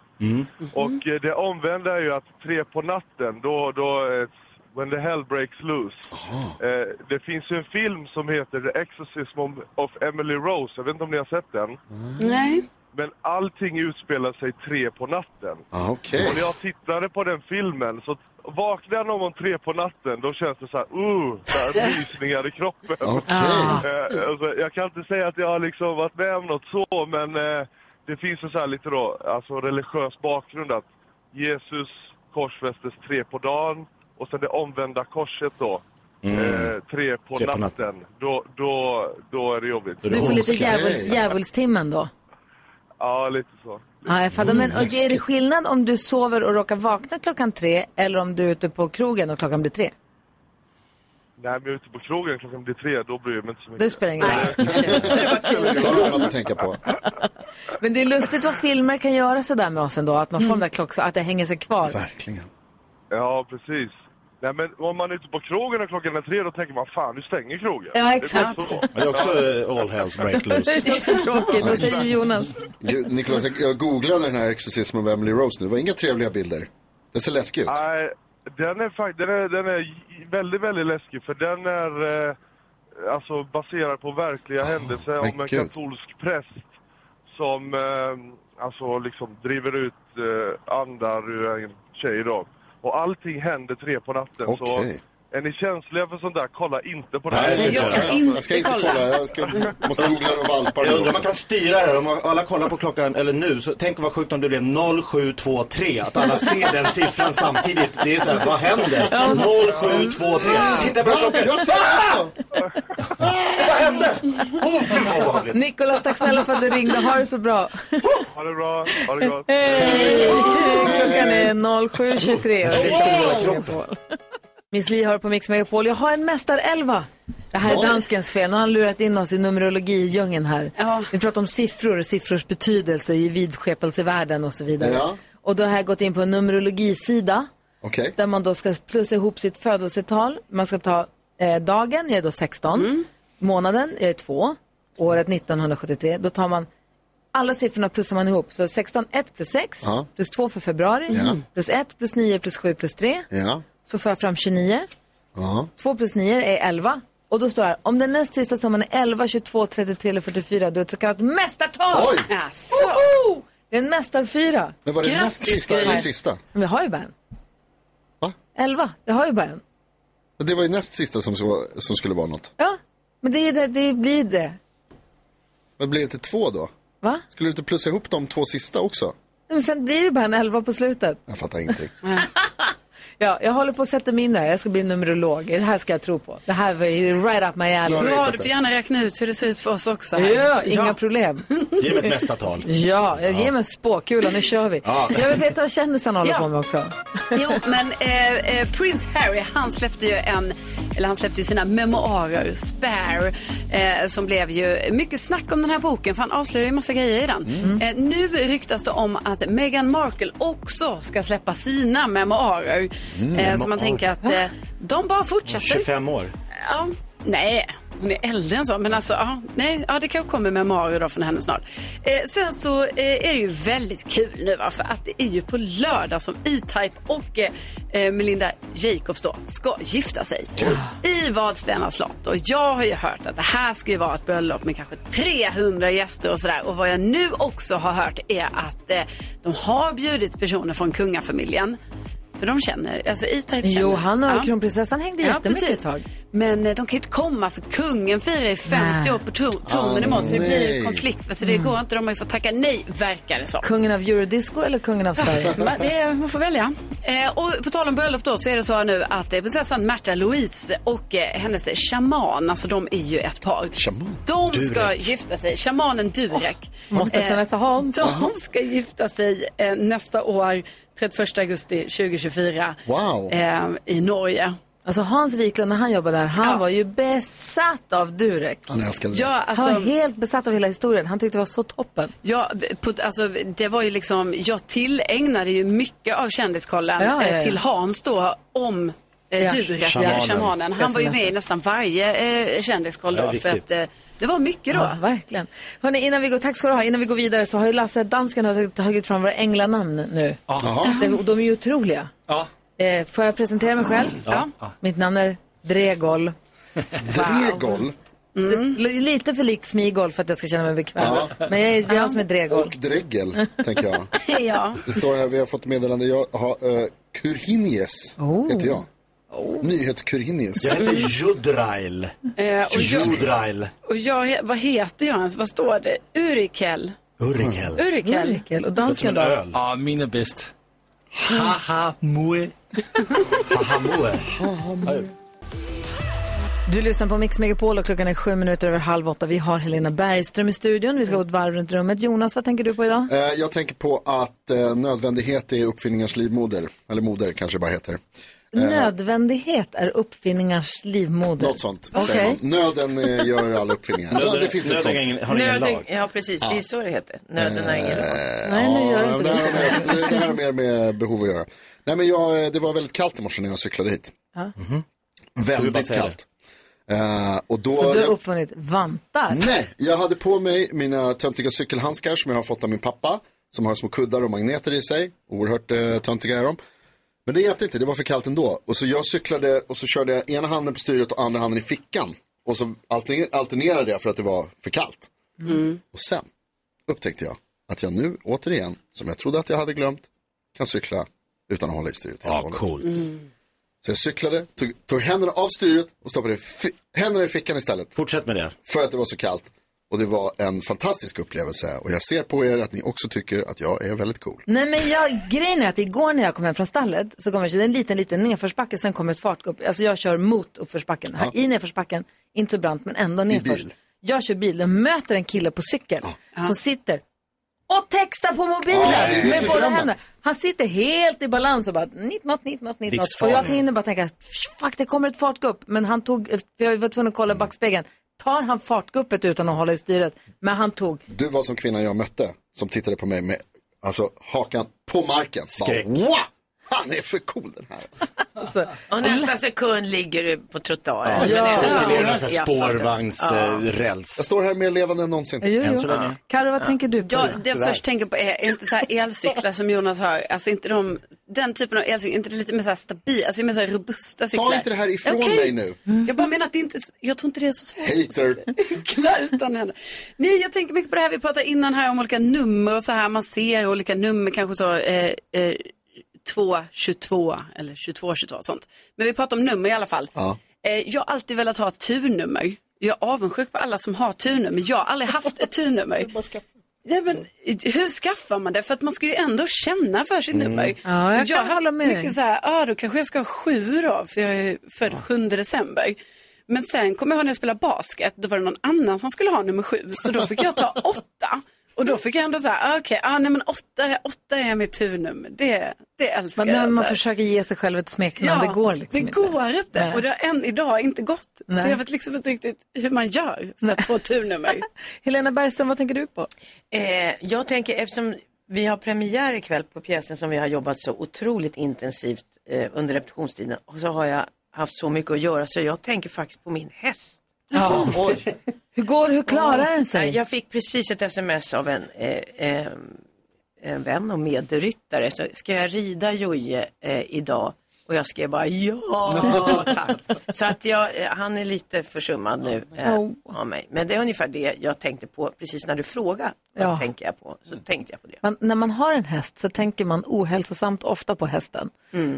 Speaker 9: Och eh, det omvända är ju att tre på natten, då, då eh, when the hell breaks loose.
Speaker 2: Ah.
Speaker 9: Eh, det finns ju en film som heter The Exorcism of- of Emily Rose, jag vet inte om ni har sett den.
Speaker 4: Nej.
Speaker 9: Men allting utspelar sig tre på natten.
Speaker 2: Ja, Ah, okej.
Speaker 9: Och när jag tittade på den filmen så vaknade jag någon gång tre på natten, då känns det så här, uh, så här rysningar i kroppen.
Speaker 2: Okej.
Speaker 9: Eh, alltså, jag kan inte säga att jag har liksom varit med om något så, men eh, det finns en så här lite då, alltså religiös bakgrund att Jesus korsfästes tre på dagen och sen det omvända korset då. Eh, tre på
Speaker 3: Tre på
Speaker 9: natten,
Speaker 3: natten.
Speaker 9: Då, då, då är det jobbigt.
Speaker 6: Du får lite
Speaker 2: Okej.
Speaker 6: djävuls, djävulstimmen då.
Speaker 9: Ja, lite så.
Speaker 6: Ja, jag fattar. Men och det är det skillnad om du sover och råkar vakna klockan tre eller om du är ute på krogen och klockan blir tre?
Speaker 9: Nej, men jag är ute på krogen klockan blir tre, då bryr jag mig inte så mycket.
Speaker 6: Det spelar ingen roll.
Speaker 2: Det har du annat att tänka på.
Speaker 6: Men det är lustigt vad filmer kan göra sådär med oss ändå. Att man får de där klockslag, att det hänger sig kvar.
Speaker 2: Verkligen.
Speaker 9: Ja, precis. Nej, men om man är ute på krogen och klockan är tre, då tänker man fan, nu stänger krogen.
Speaker 6: Ja, exakt.
Speaker 9: Det är så.
Speaker 3: Det är också eh, all hells break
Speaker 6: Det
Speaker 3: loose.
Speaker 6: är också tråkigt. Vad säger Jonas?
Speaker 2: Gud, Niklas, jag- jag googlade den här exorcismen av Emily Rose nu. Det var inga trevliga bilder. Det ser läskigt ut.
Speaker 9: Nej, den är, fakt- den, är, den är väldigt, väldigt läskig för den är eh, alltså baserad på verkliga händelser om
Speaker 2: Ah, men
Speaker 9: en
Speaker 2: gud.
Speaker 9: katolsk präst som eh, alltså liksom driver ut eh, andar ur en tjej då. Och allting händer tre på natten
Speaker 2: Okej.
Speaker 9: så är ni känsliga för sånt där, kolla inte på det.
Speaker 3: Nej,
Speaker 2: Nej,
Speaker 3: jag ska
Speaker 2: Jag ska inte kolla. Jag ska, måste googla några valpar
Speaker 3: Jag
Speaker 2: nu
Speaker 3: undrar, man
Speaker 2: också.
Speaker 3: kan styra det här. Om alla kollar på klockan, eller nu, så tänk vad sjukt om det blev 0723. Att alla ser den siffran samtidigt. Det är så här, vad händer? 0723. Titta på klockan.
Speaker 2: Jag sa det alltså!
Speaker 3: Vad hände? Oh, vad obehagligt.
Speaker 6: Nikolas, tack snälla för att du ringde. Ha det så bra.
Speaker 9: Ha det bra, ha det gott.
Speaker 6: Klockan är 07.23 och det är Mix Megapol. Miss Li har på Mix Megapol. Jag har en mästarelva. Det här är
Speaker 2: Ja.
Speaker 6: danskens fel. Nu har han lurat in oss i numerologidjungeln här. Vi pratar om siffror och siffrors betydelse i vidskepelsevärlden och så vidare.
Speaker 2: Ja.
Speaker 6: Och då har jag gått in på en numerologisida
Speaker 2: Okej.
Speaker 6: där man då ska plussa ihop sitt födelsetal. Man ska ta eh, dagen, jag är då 16.
Speaker 2: Mm.
Speaker 6: Månaden, jag är 2. Året 1973. Då tar man alla siffrorna plussar man ihop. Så 16, 1 plus 6,
Speaker 2: Ja.
Speaker 6: plus 2 för februari,
Speaker 2: Ja.
Speaker 6: plus 1, plus 9, plus 7, plus 3.
Speaker 2: Ja.
Speaker 6: Så får jag fram 29.
Speaker 2: Ja.
Speaker 6: 2 plus 9 är 11. Och då står det här, om den näst sista summan är 11, 22, 33 eller 44, då är det ett så kallat mästartal.
Speaker 2: Oj!
Speaker 4: Jaså?
Speaker 6: Woho! Det är en mästarfyra.
Speaker 2: Men var det näst sista eller sista?
Speaker 6: Men vi har ju bara en.
Speaker 2: Va?
Speaker 6: 11, jag har ju bara en.
Speaker 2: Men Det var ju näst sista som, så, som skulle vara något.
Speaker 6: Ja, men det, är ju det, det blir ju det.
Speaker 2: Men blev det inte två då?
Speaker 6: Va?
Speaker 2: Skulle du inte plussa ihop de två sista också?
Speaker 6: Men sen blir det bara en 11 på slutet.
Speaker 2: Jag fattar ingenting.
Speaker 6: Ja, jag håller på att sätta mig in där. Jag ska bli numerolog. Det här ska jag tro på. Det här var ju right up my alley.
Speaker 2: Ja,
Speaker 4: Bra, du får gärna räkna ut hur det ser ut för oss också. Här.
Speaker 6: Ja, inga problem.
Speaker 3: Ge mig ett nästa tal.
Speaker 6: Ja, jag ger mig en spåkula. Nu kör vi.
Speaker 3: Ja.
Speaker 6: Jag vill veta vad kändisarna håller
Speaker 4: Ja.
Speaker 6: på med också.
Speaker 4: Jo, men eh, eh, Prince Harry, han släppte ju en eller han släppte ju sina memoarer, Spare, eh, som blev ju mycket snack om den här boken, för han avslöjade ju massa grejer i den. Eh, nu ryktas det om att Meghan Markle också ska släppa sina memoarer. eh, så man tänker att eh, de bara fortsätter.
Speaker 3: 25 år.
Speaker 4: Ja, nej. Hon är äldre än så, men alltså, ja, nej, ja, det kanske kommer memoarer då från henne snart. Eh, sen så eh, är det ju väldigt kul nu, va? för att det är ju på lördag som E-Type och eh, eh, Melinda Jacobs då ska gifta sig i Vadstena slott. Och jag har ju hört att det här ska ju vara ett bröllop med kanske 300 gäster och sådär. Och vad jag nu också har hört är att eh, de har bjudit personer från kungafamiljen. För de känner, alltså E-Type känner.
Speaker 6: Jo, han och
Speaker 4: Ja.
Speaker 6: kronprinsessan hängde jättemycket ett
Speaker 4: precis.
Speaker 6: tag.
Speaker 4: Men eh, de kan ju inte komma för kungen firar ju 50
Speaker 6: Nej.
Speaker 4: år på tro- tronen
Speaker 2: Ah,
Speaker 4: imorgon så det blir
Speaker 2: nej.
Speaker 4: ju konflikt. va, Så det går inte, de har ju fått tacka nej verkar det som.
Speaker 6: Kungen av eurodisco eller kungen av Sverige?
Speaker 4: Men det är, man får välja. Eh, och på tal om bröllop då så är det så här nu att eh, prinsessan Märtha Louise och eh, hennes shaman, alltså de är ju ett par.
Speaker 2: Shaman?
Speaker 4: De ska gifta sig, shamanen Durek. Eh,
Speaker 6: Måste smsa Hans.
Speaker 4: De ska gifta sig eh, nästa år, 31 augusti 2024,
Speaker 2: Wow.
Speaker 4: eh, i Norge.
Speaker 6: Alltså Hans Wiklund när han jobbade där, han var ju besatt av Durek.
Speaker 2: Han älskade det.
Speaker 4: Ja, alltså,
Speaker 6: han var helt besatt av hela historien. Han tyckte det var så toppen.
Speaker 4: Ja, på, alltså, det var ju liksom, jag tillägnade ju mycket av Kändiskollen
Speaker 6: Ja, ja,
Speaker 4: eh,
Speaker 6: ja.
Speaker 4: till Hans då om eh,
Speaker 6: Ja.
Speaker 4: Durek,
Speaker 3: Shamanen.
Speaker 4: shamanen. shamanen. Han var ju med i nästan varje eh, Kändiskoll
Speaker 3: Ja,
Speaker 4: då, för
Speaker 3: viktigt.
Speaker 4: att eh, det var mycket då.
Speaker 6: Ja, verkligen. Hörrni, innan vi går, tack ska du ha. Innan vi går vidare så har ju Lasse, dansken, har tagit- tagit fram våra änglanamn nu.
Speaker 2: Jaha.
Speaker 6: Det- Och de är ju otroliga.
Speaker 5: Ja.
Speaker 6: Eh, får jag presentera mig själv?
Speaker 4: Ja.
Speaker 6: Mitt namn är Dregol.
Speaker 2: Dregol Mm.
Speaker 6: Det är Lite för likt Smigol för att jag ska känna mig bekväm. Men jag är, det är jag som är Dregol.
Speaker 2: och Dregel, tänker jag.
Speaker 4: ja.
Speaker 2: Det står här, vi har fått meddelande, jag har uh, Kurhinies,
Speaker 6: Oh.
Speaker 2: heter jag. Nyhetskurhinies.
Speaker 3: Jag heter Judrail.
Speaker 4: Eh, och, jag,
Speaker 3: Judrail.
Speaker 4: och jag, he- vad heter jag ens? Vad står det? Urikel? Mm.
Speaker 3: Urikel.
Speaker 4: Urikel?
Speaker 6: Dregel.
Speaker 3: Som
Speaker 6: Och dansken
Speaker 3: en
Speaker 6: då?
Speaker 3: öl.
Speaker 5: Ah, min är bäst. Haha, mue.
Speaker 3: Hahamue.
Speaker 6: Du lyssnar på Mix Megapol och klockan är sju minuter över halv åtta. Vi har Helena Bergström i studion. Vi ska gå ett varv runt rummet. Jonas, vad tänker du på idag?
Speaker 2: Eh, Jag tänker på att eh, nödvändighet är uppfinningars livmoder. Eller moder kanske det bara heter.
Speaker 6: Nödvändighet är uppfinningars livmoder.
Speaker 2: Eh. Något sånt säger
Speaker 6: Okej.
Speaker 2: man. Nöden eh, gör alla uppfinningar. Ja, det finns ett sånt.
Speaker 3: Nöden har ingen
Speaker 10: Nöden,
Speaker 3: lag.
Speaker 10: ja precis, det är så det heter. Nöden har ingen lag.
Speaker 6: Nej, nu gör
Speaker 2: Ja,
Speaker 6: det
Speaker 2: det, här har
Speaker 6: inte det.
Speaker 2: mer, det här har mer med behov att göra. Nej, men jag, eh, det var väldigt kallt i morse när jag cyklade hit. Mhm.
Speaker 3: Du bara
Speaker 2: Väldigt
Speaker 3: säger
Speaker 2: kallt. Eh, och då,
Speaker 6: Så du har
Speaker 2: jag-
Speaker 6: uppfunnit vantar.
Speaker 2: Nej, jag hade på mig mina töntiga cykelhandskar som jag har fått av min pappa. Som har små kuddar och magneter i sig. Oerhört eh, töntiga är de. Men det hjälpte inte, det var för kallt ändå. Och så jag cyklade och så körde jag ena handen på styret och andra handen i fickan. Och så alterne- alternerade jag för att det var för kallt. Och sen upptäckte jag att jag nu återigen, som jag trodde att jag hade glömt, kan cykla utan att hålla i styret. helt och
Speaker 3: Ja,
Speaker 2: hållet.
Speaker 3: coolt.
Speaker 2: Så jag cyklade, tog, tog händerna av styret och stoppade fi- händerna i fickan istället
Speaker 3: Fortsätt med det.
Speaker 2: för att det var så kallt. Och det var en fantastisk upplevelse och jag ser på er att ni också tycker att jag är väldigt cool.
Speaker 6: Nej men jag, grejen är att igår när jag kom hem från stallet så kom jag till en liten, liten nedförsbacke, sen kom ett fartgupp. Alltså jag kör mot uppförsbacken. Här, I nedförsbacken, inte så brant men ändå nedförs.
Speaker 2: bil.
Speaker 6: Jag kör bil, jag möter en kille på cykel som sitter och textar på mobilen
Speaker 11: Ja, det är det som
Speaker 6: med
Speaker 11: är
Speaker 6: båda
Speaker 11: drömmen.
Speaker 6: händerna. Han sitter helt i balans och bara nitt, natt, nitt, natt, nitt, natt. Och jag
Speaker 11: Livsfarligt.
Speaker 6: hinner bara tänka, fuck det kommer ett fartgupp. Men han tog, jag var tvungen att kolla i backspegeln. Tar han fartguppet utan att hålla i styret? Men han tog
Speaker 2: Du var som kvinnan jag mötte som tittade på mig med alltså, hakan på marken.
Speaker 11: Skräck.
Speaker 2: Bara, "Wow! Han är för cool den här. Alltså.
Speaker 10: Och nästa sekund ligger du på trottoaren.
Speaker 3: Ja,
Speaker 10: Men ändå-
Speaker 3: det står en
Speaker 10: Ja,
Speaker 3: sån här eh,
Speaker 10: jag fattar. Ja.
Speaker 3: spårvagnsräls.
Speaker 2: Jag står här mer levande än någonsin.
Speaker 10: Jo, Än jo. så länge.
Speaker 6: Karo, vad tänker du på?
Speaker 4: Ja,
Speaker 6: då?
Speaker 4: det jag först tänker på är, är inte så här elcyklar som Jonas har, alltså inte de, den typen av elcyklar, inte det lite mer så här stabil, alltså mer så här robusta cyklar.
Speaker 2: Ta inte det här ifrån
Speaker 4: Okej.
Speaker 2: mig nu.
Speaker 4: Jag bara menar att det inte, är så- jag tror inte det är så svårt.
Speaker 2: Hater.
Speaker 4: cykla utan henne. Nej, jag tänker mycket på det här vi pratade innan här om olika nummer och så här. Man ser olika nummer, kanske så eh, eh, 2, 22 eller 22, 22 sånt. Men vi pratar om nummer i alla fall. Eh, jag har alltid velat ha turnummer. Jag är avundsjuk på alla som har turnummer. Jag har aldrig haft ett turnummer. Ja, men, hur skaffar man det? För att man ska ju ändå känna för sitt nummer.
Speaker 6: Ja, jag
Speaker 4: Och
Speaker 6: kan
Speaker 4: har haft
Speaker 6: hålla med dig.
Speaker 4: mycket så här, ah, då kanske jag ska ha sju då, för jag är född 7 december. Men sen kommer jag ihåg när jag spelade basket, då var det någon annan som skulle ha nummer sju, så då fick jag ta åtta. Och då fick jag ändå så här, ah, okej, ah, nej men åtta, är- åtta är mitt turnummer, det, det älskar
Speaker 6: Men när
Speaker 4: jag.
Speaker 6: man
Speaker 4: så här.
Speaker 6: försöker ge sig själv ett smeknamn, det går liksom
Speaker 4: det går inte.
Speaker 6: Nej.
Speaker 4: Och det har än idag inte gått. Så
Speaker 6: Nej.
Speaker 4: jag vet liksom inte riktigt hur man gör för att få turnummer.
Speaker 6: Helena Bergström, vad tänker du på?
Speaker 10: Eh, jag tänker, eftersom vi har premiär ikväll på pjäsen som vi har jobbat så otroligt intensivt eh, under repetitionstiden, och så har jag haft så mycket att göra så jag tänker faktiskt på min häst.
Speaker 6: Ja. Hur går det? Hur klarar den sig?
Speaker 10: Eh, Jag fick precis ett sms av en, eh, eh, en vän och medryttare. Så ska jag rida Joje eh, idag? Och jag skrev bara ja, tack. Så att jag, eh, han är lite försummad nu eh, av mig. Men det är ungefär det jag tänkte på precis när du frågade. Vad
Speaker 6: Ja.
Speaker 10: tänker jag på? Så tänkte jag på det.
Speaker 6: Man, när man har en häst så tänker man ohälsosamt ofta på hästen.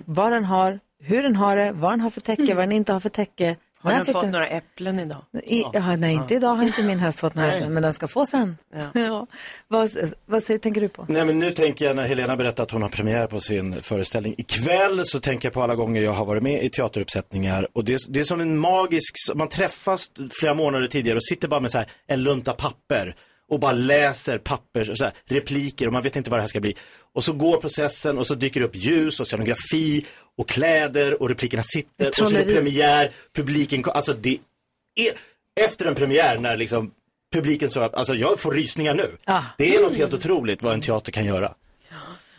Speaker 6: Vad den har, hur den har det, vad den har för täcke, vad den inte har för täcke.
Speaker 10: Har
Speaker 6: När
Speaker 10: den
Speaker 6: fick
Speaker 10: fått några äpplen idag?
Speaker 6: I, ja, nej, inte idag har inte min häst fått några, äpplen, men den ska få sen. Ja. Vad, vad säger, tänker du på?
Speaker 3: Nej men nu tänker jag när Helena berättar att hon har premiär på sin föreställning ikväll så tänker jag på alla gånger jag har varit med i teateruppsättningar och det, det är som en magisk, man träffas flera månader tidigare och sitter bara med så här en lunta papper och bara läser papper, så här, repliker och man vet inte vad det här ska bli. Och så går processen och så dyker det upp ljus och scenografi och kläder och replikerna sitter och så är det
Speaker 11: trolleri.
Speaker 3: premiär, publiken, kom- alltså det är, efter en premiär när liksom publiken så, alltså jag får rysningar nu.
Speaker 6: Ah.
Speaker 3: Det är något helt otroligt vad en teater kan göra.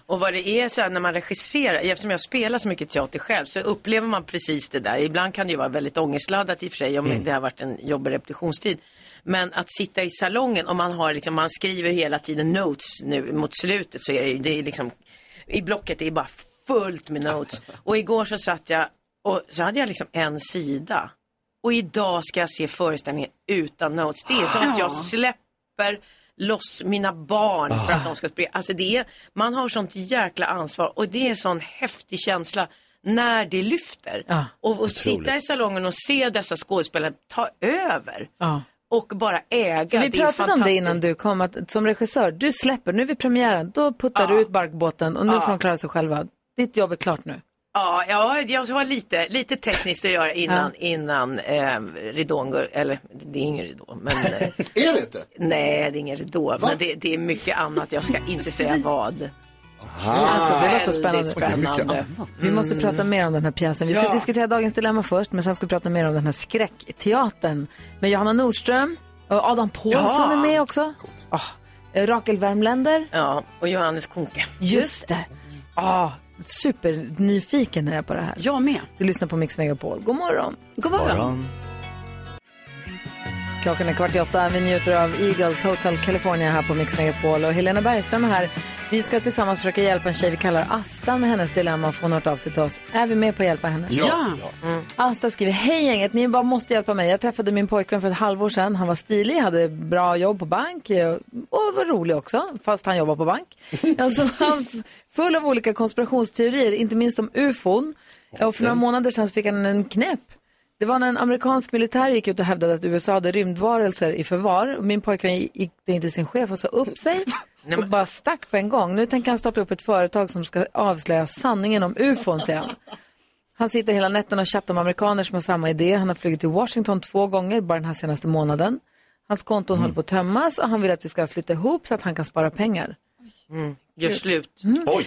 Speaker 10: Och vad det är så här när man regisserar, eftersom jag spelar så mycket teater själv så upplever man precis det där. Ibland kan det ju vara väldigt ångestladdat i och för sig om
Speaker 11: Mm.
Speaker 10: det har varit en jobbig repetitionstid. Men att sitta i salongen och man har liksom, man skriver hela tiden notes nu mot slutet så är det ju, det är liksom, i blocket det är bara fullt med notes. Och igår så satt jag och så hade jag liksom en sida. Och idag ska jag se föreställningen utan notes. Det är som att
Speaker 11: Ja.
Speaker 10: jag släpper loss mina barn för att de ska springa. Alltså det är, man har sånt jäkla ansvar och det är en sån häftig känsla när det lyfter.
Speaker 6: Ja.
Speaker 10: Och, och
Speaker 6: Otroligt.
Speaker 10: sitta i salongen och se dessa skådespelare ta över
Speaker 6: Ja.
Speaker 10: och bara äga.
Speaker 6: Vi
Speaker 10: det är
Speaker 6: pratade om det
Speaker 10: fantastiskt.
Speaker 6: innan du kom, att som regissör, du släpper, nu vid premiären, då puttar du ut barkbåten och nu
Speaker 10: Ja.
Speaker 6: får de klara sig själva. Ditt jobb är klart nu.
Speaker 10: Ja, ja, jag har lite, lite tekniskt att göra
Speaker 6: Ah.
Speaker 10: innan, innan eh, ridån går, eller det är ingen ridå, men... eh,
Speaker 2: är det inte?
Speaker 10: Nej, det är ingen ridå, men det, det är mycket annat, jag ska inte säga vad.
Speaker 6: Alltså, det låter
Speaker 10: Ah, Väldigt
Speaker 6: spännande.
Speaker 10: spännande. Mm.
Speaker 6: Så vi måste prata mer om den här pjäsen. Vi ska
Speaker 10: Ja.
Speaker 6: diskutera dagens dilemma först, men sen ska vi prata mer om den här skräckteatern med Johanna Nordström och Adam Pålsson
Speaker 10: Ja.
Speaker 6: är med också. Ah, eh, Rakel Värmländer.
Speaker 10: Ja, och Johannes Kunke.
Speaker 6: Just det. Ah, supernyfiken är jag på det här.
Speaker 4: Jag med.
Speaker 6: Du lyssnar på Mix Megapol. God morgon.
Speaker 4: God
Speaker 6: Mm.
Speaker 3: morgon.
Speaker 6: Klockan är kvart i åtta. Vi njuter av Eagles Hotel California här på Mix Megapol. Och Helena Bergström är här. Vi ska tillsammans försöka hjälpa en tjej vi kallar Asta med hennes dilemma. För hon har hört av sig till oss. Är vi med på att hjälpa henne?
Speaker 11: Mm.
Speaker 6: Asta skriver, hej gänget, ni bara måste hjälpa mig. Jag träffade min pojkvän för ett halvår sedan. Han var stilig, hade bra jobb på bank eh, och var rolig också, fast han jobbar på bank. Alltså, han f- full av olika konspirationsteorier, inte minst om ufon. Eh, Och för några månader sedan så fick han en knäpp. Det var när en amerikansk militär gick ut och hävdade att USA hade rymdvarelser i förvar. Och Min pojkvän gick då in till sin chef och sa upp sig och bara stack på en gång. Nu tänker han starta upp ett företag som ska avslöja sanningen om ufon, säger han. Han sitter hela nätterna och chattar med amerikaner som har samma idéer. Han har flugit till Washington två gånger bara den här senaste månaden. Hans konton håller på att tömmas och han vill att vi ska flytta ihop så att han kan spara pengar.
Speaker 10: Mm. Gör slut.
Speaker 3: Oj!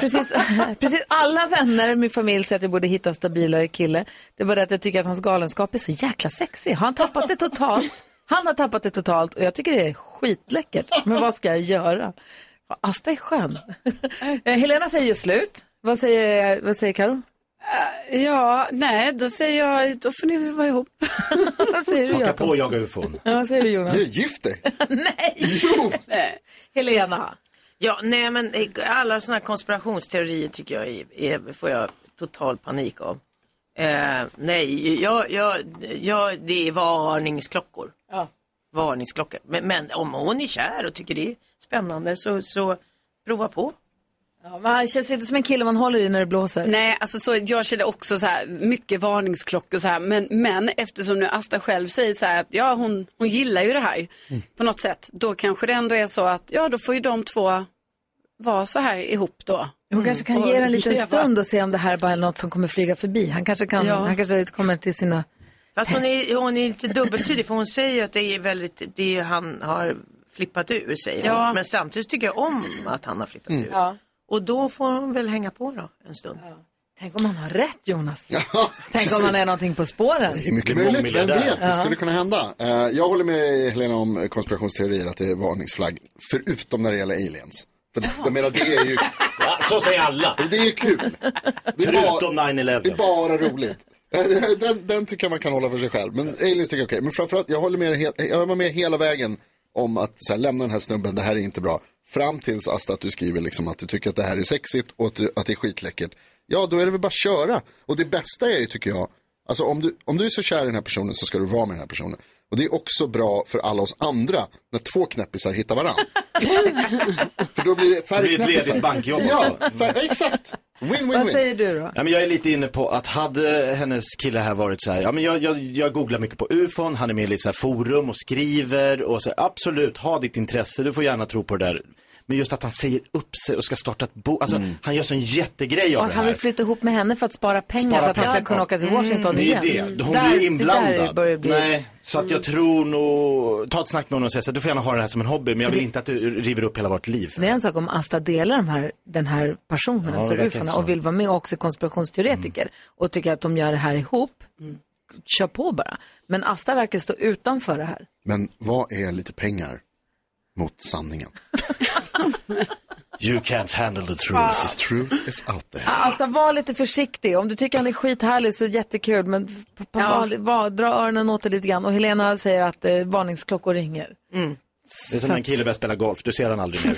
Speaker 6: precis, precis alla vänner i min familj säger att jag borde hitta en stabilare kille. Det är bara det att jag tycker att hans galenskap är så jäkla sexig. Har han tappat det totalt? Han har tappat det totalt och jag tycker det är skitläckert. Men vad ska jag göra? Ja, Asta är skön. Eh, Helena säger ju slut. Vad säger, vad säger Karo?
Speaker 4: Ja, nej, då säger jag, då får ni vara ihop.
Speaker 6: vad säger du
Speaker 3: Haka
Speaker 6: Jakob?
Speaker 3: på och jaga ufon.
Speaker 6: Ja, vad säger du Jonas?
Speaker 2: Du är gift dig.
Speaker 6: Helena.
Speaker 10: Ja, nej men eh, alla sådana konspirationsteorier tycker jag är, är, får jag total panik av. Eh, nej, jag, jag, jag, det är varningsklockor.
Speaker 6: Ja.
Speaker 10: Varningsklockor. Men, men om hon är kär och tycker det är spännande så, så prova på.
Speaker 6: Ja, men han känns ju inte som en kille man håller i när det blåser.
Speaker 4: Nej, alltså så, jag känner också så här mycket varningsklockor så här. Men, men eftersom nu Asta själv säger så här att ja, hon, hon gillar ju det här
Speaker 2: Mm.
Speaker 4: på något sätt. Då kanske det ändå är så att ja, då får ju de två vara så här ihop då.
Speaker 6: Hon kanske kan
Speaker 4: Och
Speaker 6: ge det en liten
Speaker 4: leva.
Speaker 6: stund och se om det här bara är något som kommer flyga förbi. Han kanske, kan,
Speaker 4: Ja.
Speaker 6: han kanske kommer till sina...
Speaker 10: Fast hon är, hon är inte dubbeltydig för hon säger att det är väldigt, det är, han har flippat ur säger
Speaker 4: Ja.
Speaker 10: hon. Men samtidigt tycker jag om att han har flippat ur. Och då får hon väl hänga på då en stund.
Speaker 6: Tänk om han har rätt Jonas. Tänk om han är någonting på spåren.
Speaker 2: Det är mycket
Speaker 3: Det är
Speaker 2: möjligt, vem
Speaker 3: mångmiljardär.
Speaker 2: vet, det skulle kunna hända. Eh, Jag håller med dig, Helena om konspirationsteorier, att det är varningsflagg. Förutom när det gäller aliens. För det, jag menar, det är ju
Speaker 3: Ja, så säger alla.
Speaker 2: det är ju kul. Det är,
Speaker 3: Förutom
Speaker 2: bara, det är
Speaker 3: 9-11.
Speaker 2: bara roligt. Eh, Den, den tycker jag man kan hålla för sig själv. Men aliens tycker jag är okej. Men framförallt, jag håller med, dig he- jag var med hela vägen om att så här, lämna den här snubben, det här är inte bra. Fram tills Asta att du skriver liksom att du tycker att det här är sexigt och att, du, att det är skitläckert. Ja, då är det väl bara att köra. Och det bästa är ju, tycker jag, alltså om du, om du är så kär i den här personen så ska du vara med den här personen. Och det är också bra för alla oss andra när två knäppisar hittar varandra. för då blir det
Speaker 3: Så
Speaker 2: färre
Speaker 3: blir det ett
Speaker 2: knäppisar.
Speaker 3: ledigt bankjobb
Speaker 2: ja,
Speaker 3: också.
Speaker 2: fär, exakt.
Speaker 6: Vad
Speaker 2: Win-win-win.
Speaker 6: säger du då?
Speaker 3: Ja, men jag är lite inne på att hade hennes kille här varit så här, ja men jag, jag, jag googlar mycket på ufon, han är med i lite så här forum och skriver och så absolut, ha ditt intresse, du får gärna tro på det där. Men just att han säger upp sig och ska starta ett bo, alltså han gör sån jättegrej av
Speaker 6: Och
Speaker 3: det
Speaker 6: Mm. han
Speaker 3: här.
Speaker 6: vill flytta ihop med henne för att spara pengar
Speaker 3: Spara
Speaker 6: så att han ska
Speaker 3: pengar. Mm.
Speaker 6: kunna åka till Washington
Speaker 3: det är
Speaker 6: igen.
Speaker 3: det, hon
Speaker 6: Där-
Speaker 3: blir
Speaker 6: det
Speaker 3: inblandad.
Speaker 6: Där börjar bli... Mm.
Speaker 3: Nej, så att jag tror nog, ta ett snack med honom och säga så här, du får gärna ha det här som en hobby, men jag vill inte att du river upp hela vårt liv.
Speaker 6: Det är en sak om Asta delar de här, den här passionen
Speaker 3: Ja, det
Speaker 6: för
Speaker 3: verkar
Speaker 6: ufona
Speaker 3: inte så. Mm.
Speaker 6: och vill vara med och också är konspirationsteoretiker och tycker att de gör det här ihop. Kör på bara. Men Asta verkar stå utanför det här.
Speaker 2: Men vad är lite pengar mot sanningen?
Speaker 3: You can't handle the
Speaker 6: Ah,
Speaker 3: truth.
Speaker 2: The truth is out there.
Speaker 6: Asta, var lite försiktig. Om du tycker han är skithärlig så jättekul, men p- p- var, var, dra öronen åt det lite grann. Och Helena säger att eh, varningsklockor ringer.
Speaker 3: Det är som när en kille börjar spela golf, du ser han aldrig mer.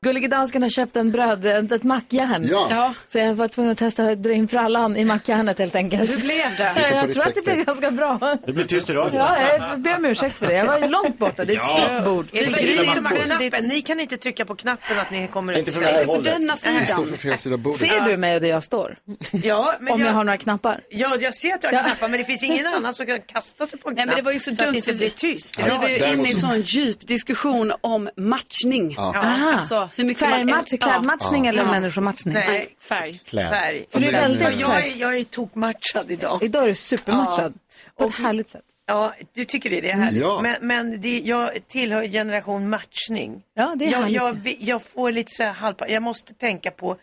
Speaker 6: Gullige dansken har köpt en bröd, ett, ett mackjärn.
Speaker 2: Ja,
Speaker 6: Så jag var tvungen att testa att dra in frallan i mackjärnet helt enkelt. Hur blev det? Jag,
Speaker 2: Titta på
Speaker 6: jag
Speaker 2: ditt
Speaker 6: tror att det blev
Speaker 2: sextape.
Speaker 6: ganska bra.
Speaker 3: Det blir tyst i radio.
Speaker 6: Ja, jag ber om ursäkt för det. Jag var ju långt borta. Det är ett
Speaker 3: Ja.
Speaker 6: stort bord.
Speaker 10: Är det,
Speaker 4: grillar
Speaker 10: är det
Speaker 4: man
Speaker 10: som
Speaker 4: på.
Speaker 10: knappen? Ni kan inte trycka på knappen att ni kommer
Speaker 3: Inte
Speaker 10: ut.
Speaker 3: från det här
Speaker 4: På
Speaker 3: hållet.
Speaker 4: denna
Speaker 2: jag står för
Speaker 4: sidan.
Speaker 2: fel sida bordet.
Speaker 6: Ser du mig där jag står?
Speaker 10: Ja, men
Speaker 6: Om jag
Speaker 10: jag,
Speaker 6: har några knappar?
Speaker 10: ja, jag ser att jag har knappar men det finns ingen annan som kan kasta sig på en
Speaker 4: Nej, men det var ju så
Speaker 10: så att
Speaker 4: dumt,
Speaker 10: det inte
Speaker 4: för-
Speaker 10: blir tyst.
Speaker 4: Vi var ju
Speaker 2: Däremot
Speaker 4: inne i en
Speaker 2: så-
Speaker 4: sån djup diskussion om matchning. Ja. Alltså, hur mycket man-
Speaker 6: Färgmatch, klädmatchning eller människomatchning?
Speaker 10: Nej,
Speaker 4: Färg.
Speaker 3: Kläd.
Speaker 10: färg.
Speaker 6: För det är
Speaker 10: För
Speaker 6: väldigt
Speaker 10: jag,
Speaker 6: färg.
Speaker 10: är, jag är tokmatchad idag.
Speaker 6: Idag är du supermatchad. På ett härligt sätt.
Speaker 10: Ja, du tycker det, det är härligt.
Speaker 2: Ja.
Speaker 10: Men, men det, jag tillhör generation matchning.
Speaker 6: Ja, det är
Speaker 10: jag,
Speaker 6: härligt.
Speaker 10: jag, vi- jag får lite så här halpa, jag måste tänka på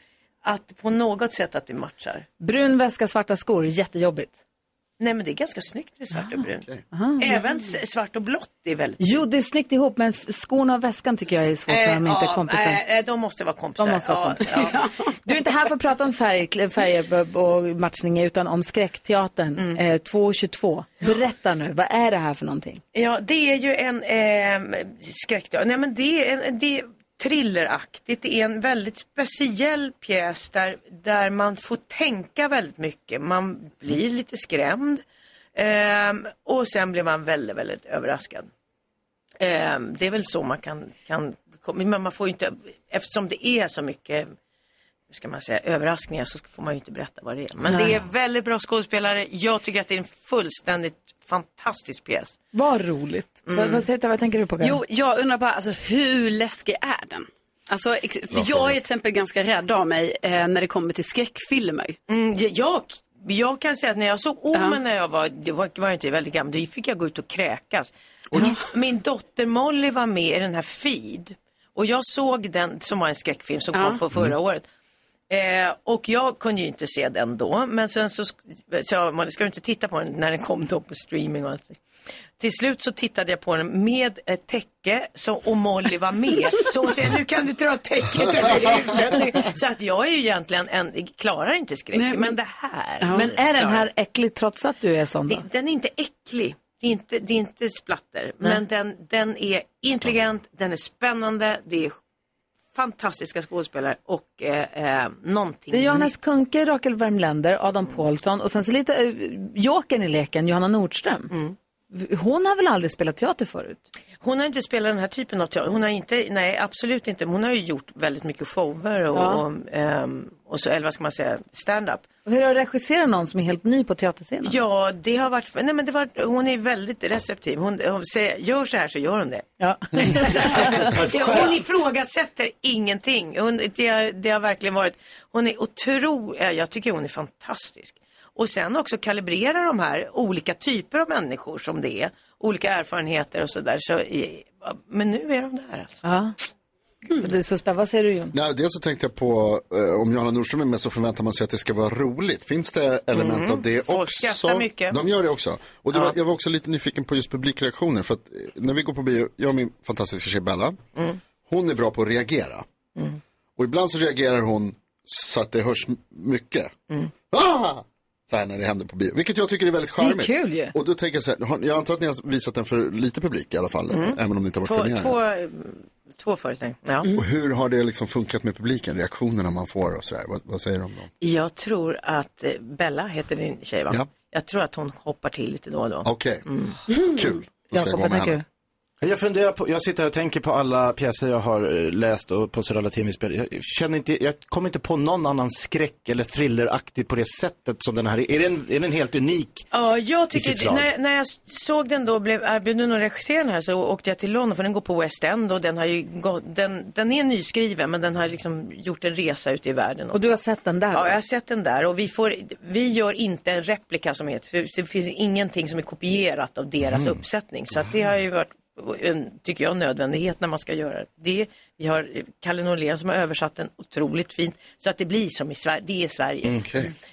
Speaker 10: att på något sätt att det matchar.
Speaker 6: Brun väska, svarta skor. Jättejobbigt.
Speaker 10: Nej men det är ganska snyggt med svart
Speaker 6: Ah,
Speaker 10: och brunt. Även s- svart och blått är väldigt
Speaker 6: Jo, det är snyggt ihop, men f- skorna och väskan tycker jag är svårt när de inte är
Speaker 10: Eh, ja,
Speaker 6: kompisar.
Speaker 10: nej, de måste vara kompisar.
Speaker 6: De måste vara
Speaker 10: Ja,
Speaker 6: kompisar.
Speaker 10: ja.
Speaker 6: Du är inte här för att prata om färg, kl- färger och matchning utan om skräckteatern. Eh, 2.22. Berätta nu, vad är det här för någonting?
Speaker 10: Ja, det är ju en eh, skräck. Nej, men det är, en, det är thrilleraktigt. Det är en väldigt speciell pjäs där, där man får tänka väldigt mycket. Man blir lite skrämd ehm, och sen blir man väldigt, väldigt överraskad. Ehm, det är väl så man kan, kan, men man får ju inte, eftersom det är så mycket hur ska man säga, överraskningar så får man ju inte berätta vad det är. Men det är väldigt bra skådespelare. Jag tycker att det är en fullständigt fantastisk pjäs.
Speaker 6: Vad roligt. Vad, vad, säger- vad tänker du på? Karin?
Speaker 4: Jo, jag undrar bara, alltså, hur läskig är den? Alltså, ex- för jag är till exempel ganska rädd av mig eh, när det kommer till skräckfilmer.
Speaker 10: Mm, jag, jag Jag kan säga att när jag såg ormen när jag var, det var, var jag inte väldigt gammal, då fick jag gå ut och kräkas. Min dotter Molly var med i den här Feed. Och jag såg den, som var en skräckfilm som
Speaker 4: Ja.
Speaker 10: kom för förra
Speaker 4: Mm.
Speaker 10: året. Eh, och jag kunde ju inte se den då, men sen så sk- sa jag, Molly, ska du inte titta på den när den kom då på streaming och allt. Till slut så tittade jag på den med ett täcke så, och Molly var med. Så hon säger, nu kan du dra täcket över huvudet. Så att jag är ju egentligen en, klarar inte skräck,
Speaker 6: Nej,
Speaker 10: men,
Speaker 6: men-
Speaker 10: det här.
Speaker 6: Men är den
Speaker 10: klarar jag.
Speaker 6: här äcklig trots att du är sån då?
Speaker 10: Det- Den är inte äcklig. Det är inte, det är inte splatter. Men den, den är intelligent, den är spännande, det är fantastiska skådespelare och eh, eh, någonting
Speaker 6: Det är
Speaker 10: nytt.
Speaker 6: Johannes Kunke, Rakel Värmländer, Adam Paulsson och sen så lite eh, jokern i leken, Johanna Nordström. Hon har väl aldrig spelat teater förut?
Speaker 10: Hon har inte spelat den här typen av teater. Hon har inte, nej absolut inte. Men Hon har ju gjort väldigt mycket shower och,
Speaker 6: Ja.
Speaker 10: och, ehm, och så, eller vad ska man säga, stand-up.
Speaker 6: Och hur är det att regissera någon som är helt ny på teaterscenen?
Speaker 10: Ja, det har varit, nej men det var, hon är väldigt receptiv. Hon, hon säger, gör så här så gör hon det.
Speaker 6: Ja.
Speaker 10: hon ifrågasätter ingenting. Hon, det, har, det har verkligen varit, hon är otro, eh, jag tycker hon är fantastisk. Och sen också kalibrera de här olika typer av människor som det är. Olika erfarenheter och sådär. Så, i- men nu är de där alltså.
Speaker 6: Ja. Det är så spännande. Vad säger du Jon?
Speaker 2: Nej, dels så tänkte jag på, eh, om Johanna Nordström är med så förväntar man sig att det ska vara roligt. Finns det element
Speaker 10: Mm.
Speaker 2: av det också?
Speaker 10: Folk skrattar mycket.
Speaker 2: De gör det också. Och det var, jag var också lite nyfiken på just publikreaktioner. För att eh, när vi går på bio, jag och min fantastiska tjej Bella,
Speaker 10: Mm.
Speaker 2: hon är bra på att reagera. Och ibland så reagerar hon så att det hörs m- mycket.
Speaker 10: Mm.
Speaker 2: Ah! Så här när det händer på bio. Vilket jag tycker är väldigt charmigt.
Speaker 6: kul ju.
Speaker 2: Och då tänker jag så här, har- jag antar att ni har visat den för lite publik i alla fall.
Speaker 10: Mm.
Speaker 2: Även om det inte har varit
Speaker 10: Två,
Speaker 2: premiär.
Speaker 10: två, två föreställningar. Ja.
Speaker 2: Och hur har det liksom funkat med publiken, reaktionerna man får och sådär? Vad, vad säger de då?
Speaker 10: Jag tror att eh, Bella heter din tjej va?
Speaker 2: Ja.
Speaker 10: Jag tror att hon hoppar till lite då och då.
Speaker 2: Okej, kul. Då ska jag gå
Speaker 10: Mm. Jakob, vad
Speaker 2: med
Speaker 10: tänker
Speaker 2: henne.
Speaker 3: Jag funderar på, jag sitter här och tänker på alla pjäser jag har eh, läst och på Södra Latinvispel. Jag känner inte, jag kommer inte på någon annan skräck eller thrilleraktig på det sättet som den här är. Är den, är den helt unik?
Speaker 10: Ja, jag
Speaker 3: i sitt
Speaker 10: tycker,
Speaker 3: slag.
Speaker 10: när, när jag såg den då, blev erbjuden att regissera den här så åkte jag till London för den går på West End och den har ju gått, den, den är nyskriven men den har liksom gjort en resa ute i världen.
Speaker 6: Och du har sett den där?
Speaker 10: Ja, jag har sett den där och vi, får, vi gör inte en replika som heter, för det finns ingenting som är kopierat av deras
Speaker 6: Mm.
Speaker 10: uppsättning. Så att det har ju varit, en, tycker jag, en nödvändighet när man ska göra det. Vi har eh, Kalle Norlén som har översatt den otroligt fint så att det blir som i Sverige, det är Sverige.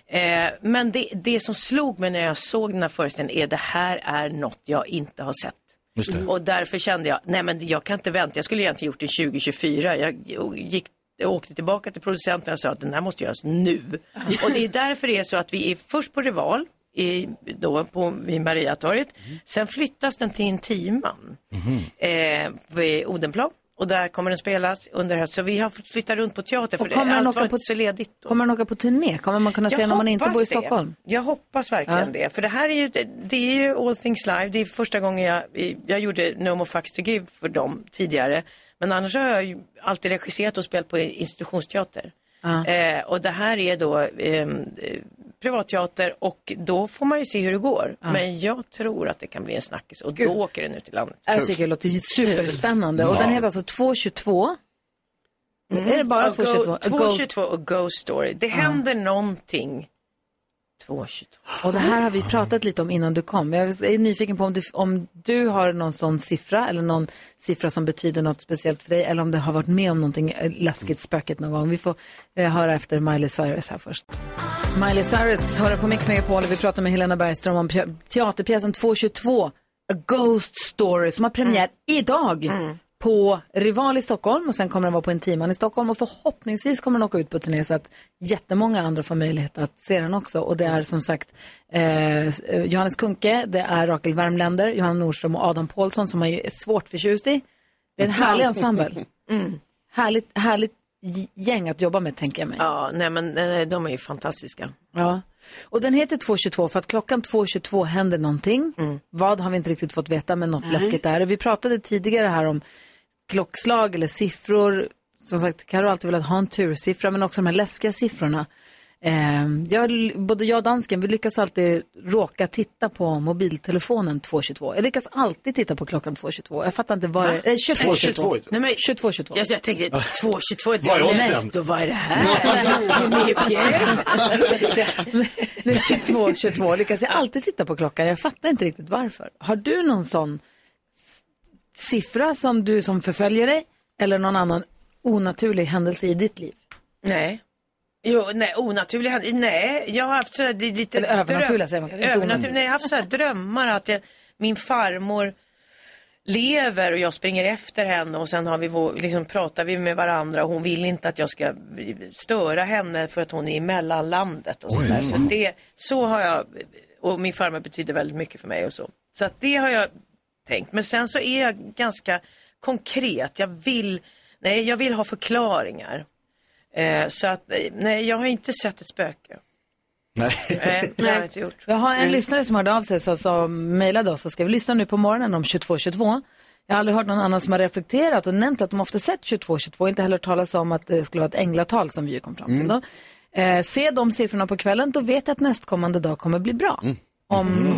Speaker 10: Eh, men det, det som slog mig när jag såg den här föreställningen är det här är något jag inte har sett.
Speaker 3: Just
Speaker 6: Mm.
Speaker 3: det.
Speaker 10: Mm. Och därför kände jag, nej men jag kan inte vänta, jag skulle egentligen gjort det 2024. Jag gick, jag åkte tillbaka till producenten och sa att den här måste göras nu.
Speaker 6: Mm.
Speaker 10: Och det är därför det är så att vi är först på Rival, i, då på, vid Mariatorget.
Speaker 6: Mm.
Speaker 10: Sen flyttas den till Intiman
Speaker 6: Mm-hmm.
Speaker 10: eh, vid Odenplan. Och där kommer den spelas under hösten. Så vi har fått flytta runt på teater för
Speaker 6: Och kommer
Speaker 10: det,
Speaker 6: den
Speaker 10: allt
Speaker 6: åka
Speaker 10: var
Speaker 6: på-
Speaker 10: inte så ledigt. då.
Speaker 6: Kommer den åka på turné? Kommer man kunna
Speaker 10: Jag
Speaker 6: se den om Alltså, man inte
Speaker 10: hoppas
Speaker 6: bor i
Speaker 10: det.
Speaker 6: Stockholm?
Speaker 10: Jag hoppas verkligen
Speaker 6: Ja.
Speaker 10: det. För det här är ju, det är ju All Things Live. Det är första gången jag, jag gjorde No More Fucks To Give för dem tidigare. Men annars har jag ju alltid regisserat och spelat på institutionsteater.
Speaker 6: Ja.
Speaker 10: Eh, och det här är då eh, privatteater och då får man ju se hur det går.
Speaker 6: Ja.
Speaker 10: Men jag tror att det kan bli en snackis och då åker den ut i landet.
Speaker 6: Jag tycker det låter superspännande. Och den heter alltså 222. Är det bara
Speaker 10: A Mm. Go-
Speaker 6: 222? A Ghost-
Speaker 10: 222 och Ghost Story. Det händer någonting 222.
Speaker 6: Och det här har vi pratat lite om innan du kom. Jag är nyfiken på om du, om du har någon sån siffra eller någon siffra som betyder något speciellt för dig eller om du har varit med om någonting eh, läskigt, spöket någon gång. Vi får eh, höra efter Miley Cyrus här först. Miley Cyrus hör på Mix Megapol och vi pratar med Helena Bergström om pjä- teaterpjäsen 222, A Ghost Story, som har premiär idag. på Rival i Stockholm och sen kommer den vara på Intiman i Stockholm och förhoppningsvis kommer den åka ut på turné så att jättemånga andra får möjlighet att se den också. Och det är som sagt eh, Johannes Kunke, det är Rakel Värmländer, Johanna Nordström och Adam Paulsson som man ju är svårt förtjust i. Det är en härlig ensemble. Härligt, härligt g- gäng att jobba med tänker jag mig.
Speaker 10: Ja, nej men eh, de är ju fantastiska.
Speaker 6: Ja. Och den heter 2.22 för att klockan 2.22 händer någonting. Vad har vi inte riktigt fått veta, men något
Speaker 1: Nej.
Speaker 6: läskigt är det. Vi pratade tidigare här om klockslag eller siffror. Som sagt, Karo har alltid velat ha en tursiffra, men också de här läskiga siffrorna. Eh, jag, både jag och dansken, vi lyckas alltid råka titta på mobiltelefonen 2.22. Jag lyckas alltid titta på klockan 2.22. Jag fattar inte vad det är. Eh, 22, 22.
Speaker 10: Nej, men,
Speaker 6: 22, 22.
Speaker 10: Jag, jag tänkte 2.22.
Speaker 6: Vad är
Speaker 10: Nej,
Speaker 6: oddsen?
Speaker 10: Då var det här. Det är med i pjäsen.
Speaker 6: Nej, 22, 22 lyckas jag alltid titta på klockan. Jag fattar inte riktigt varför. Har du någon sån s- siffra som du som förföljer dig eller någon annan onaturlig händelse i ditt liv?
Speaker 10: Nej. Jo, nej, onaturlig händelse. Nej, jag har haft sådär det är lite...
Speaker 6: Eller övernaturliga säger man kanske, inte
Speaker 10: Övernatur-
Speaker 6: onaturliga.
Speaker 10: nej, jag har haft sådär drömmar att jag, min farmor lever och jag springer efter henne och sen har vi, vår- liksom, pratar vi med varandra och hon vill inte att jag ska störa henne för att hon är i mellanlandet och
Speaker 12: Oj.
Speaker 10: sådär. Så, det, så har jag, och min farmor betyder väldigt mycket för mig och så. Så att det har jag tänkt. Men sen så är jag ganska konkret. Jag vill, nej, jag vill ha förklaringar. Eh, så att, eh, nej, jag har inte sett ett spöke. Nej, det har jag inte gjort.
Speaker 6: Jag har en
Speaker 10: Nej.
Speaker 6: lyssnare som hörde av sig som- som mejlade oss och skrev lyssna nu på morgonen om 2222. Jag har aldrig hört någon annan som har reflekterat och nämnt att de ofta sett 2222, inte heller hört talas om att det skulle vara ett änglatal som vi ju kom fram
Speaker 10: Mm.
Speaker 6: till. Då. Eh, se de siffrorna på kvällen, då vet jag att nästkommande dag kommer bli bra.
Speaker 10: Mm.
Speaker 6: Om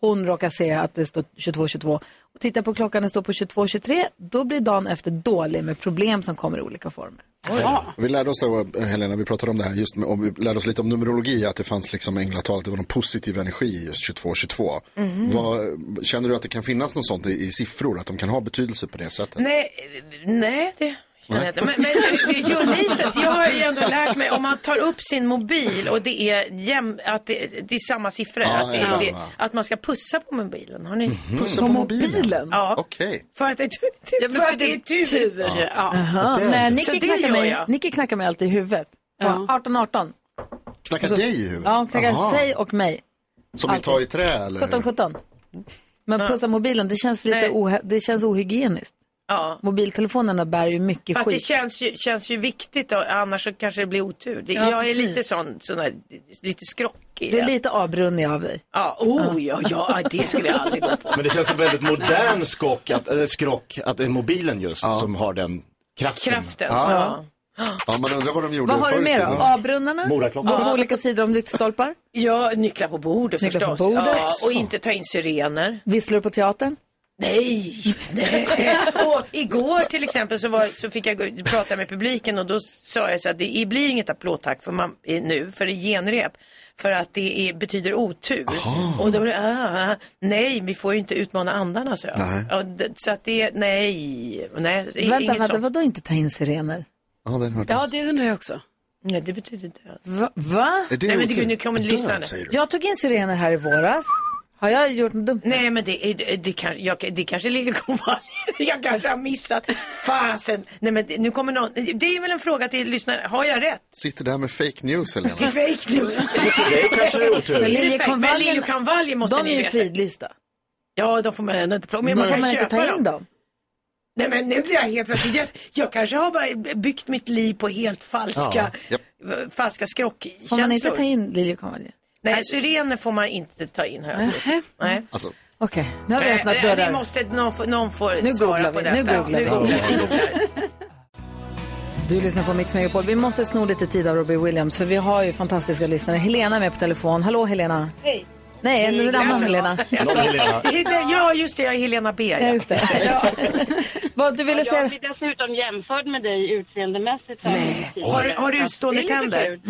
Speaker 6: hon råkar se att det står 2222 och tittar på klockan och står på 2223, då blir dagen efter dålig med problem som kommer i olika former.
Speaker 2: Vi lärde oss, då, Helena, vi pratade om det här, just med, om, vi lärde oss lite om numerologi, att det fanns liksom änglatal, att det var någon positiv energi i just 2222.
Speaker 10: Mhm.
Speaker 2: Vad, känner du att det kan finnas något sånt i, i siffror, att de kan ha betydelse på det sättet?
Speaker 10: Nej, eh, nej det känner jag inte. Men, men eh, jo, nej, så att jag har ju ändå lärt mig om man tar upp sin mobil och det är, jäm, att det, det är samma siffror.
Speaker 2: Ja,
Speaker 10: att, det,
Speaker 2: ja, Mhm.
Speaker 10: det,
Speaker 2: ja.
Speaker 10: att man ska pussa på mobilen. Har ni?
Speaker 2: Pussa Mm. på mobilen?
Speaker 10: Ja.
Speaker 2: Okej.
Speaker 10: För att det, ja, för att det är tur. Ja.
Speaker 6: Aha. Nej,
Speaker 10: Så
Speaker 6: Nicky
Speaker 10: det
Speaker 6: knackar,
Speaker 10: gör
Speaker 6: mig,
Speaker 10: jag.
Speaker 6: Nicky knackar mig alltid i huvudet. Ja. 18 18.
Speaker 2: Knackar
Speaker 10: Alltså-
Speaker 2: dig i huvudet?
Speaker 6: Ja, hon
Speaker 2: Aha.
Speaker 6: knackar sig och mig.
Speaker 2: Som vill ta i trä eller?
Speaker 6: 17 17. Men pussa mobilen, det känns lite ohe- det känns ohygieniskt.
Speaker 10: Ja.
Speaker 6: Mobiltelefonerna bär ju mycket
Speaker 10: Fast det
Speaker 6: skit.
Speaker 10: känns ju, känns ju viktigt då, annars så kanske det blir otur. Det,
Speaker 6: Ja,
Speaker 10: jag är lite
Speaker 6: precis.
Speaker 10: sån, sån här, lite skrockig.
Speaker 6: Du är lite avbrunnig av dig.
Speaker 10: Ja, oh ja, ja, det skulle jag aldrig gå på.
Speaker 3: Men det känns som väldigt modern skock att, äh, skrock att det är mobilen just som har den kraften.
Speaker 10: Kraften,
Speaker 3: Ja.
Speaker 2: ja, man undrar vad de gjorde
Speaker 6: Vad har du mer då? Avbrunnarna?
Speaker 3: Moraklockor.
Speaker 6: Gå på
Speaker 10: Ja.
Speaker 6: olika sidor om lyktstolpar?
Speaker 10: Ja, nycklar på bordet
Speaker 6: Nycklar på
Speaker 10: förstås.
Speaker 6: bordet.
Speaker 10: Ja, och inte ta in sirener.
Speaker 6: Visslar du på teatern?
Speaker 10: Nej, nej. och igår till exempel så, var, så fick jag gå- prata med publiken och då sa jag så att det blir inget applådtack för man, eh, nu för det är genrep. För att det är, betyder otur. Och då blev det, ah, ah, nej vi får ju inte utmana andarna så jag.
Speaker 6: Nej.
Speaker 10: Ja, d- så att det, nej, nej. i-
Speaker 6: vänta,
Speaker 10: inget
Speaker 6: vänta,
Speaker 10: sånt.
Speaker 6: vadå inte ta in sirener?
Speaker 2: Ja, den hörde
Speaker 10: Ja, det undrar jag också. Nej, det betyder död.
Speaker 6: Va? Va?
Speaker 10: Är det Nej, men det- otur? nu kommer Död, lyssnarna. säger du?
Speaker 6: Jag tog in sirener här i våras. Har jag gjort något dumt?
Speaker 10: Nej, men det, är- det, det, kanske, jag, det kanske liljekonvaljen. Jag kanske har missat. Fasen. Nej, men det- nu kommer någon. Det är väl en fråga till lyssnare. Har jag rätt?
Speaker 2: Sitter där med fake news, Helena?
Speaker 10: Fake news.
Speaker 2: För dig kanske det är otur.
Speaker 10: Men
Speaker 6: Liljekonvaljen-
Speaker 10: liljekonvaljen måste
Speaker 6: de
Speaker 10: ni
Speaker 6: är ju
Speaker 10: veta.
Speaker 6: fridlysta.
Speaker 10: Ja, de får man ändå inte plocka. Men man
Speaker 6: Får
Speaker 10: kan
Speaker 6: man inte
Speaker 10: köpa
Speaker 6: ta in dem?
Speaker 10: Nej, men nu blir jag helt plötsligt jätte... Jag kanske har bara byggt mitt liv på helt falska, falska skrockkänslor.
Speaker 6: Får man inte ta in liljekonvaljen?
Speaker 10: Nej, syrener får man inte ta in, har jag hört. Nej.
Speaker 2: Alltså,
Speaker 6: Okej, nu har vi
Speaker 10: Nej,
Speaker 6: öppnat
Speaker 10: nej,
Speaker 6: dörrar.
Speaker 10: Vi måste, någon, får- någon får
Speaker 6: Nu
Speaker 10: svara
Speaker 6: googlar
Speaker 10: på
Speaker 6: vi,
Speaker 10: detta.
Speaker 6: nu googlar vi. Du lyssnar på Mix Megapol. Vi måste sno lite tid av Robbie Williams för vi har ju fantastiska lyssnare. Helena är med på telefon. Hallå Helena.
Speaker 10: Hej.
Speaker 6: Nej, nu är det annan
Speaker 10: Helena.
Speaker 6: Helena.
Speaker 10: ja, just det, jag är Helena B. Ja.
Speaker 6: Just det. Vad du ville
Speaker 13: säga? Jag blir dessutom jämförd med dig utseendemässigt. Nej.
Speaker 10: Har du- har du utstående tänder?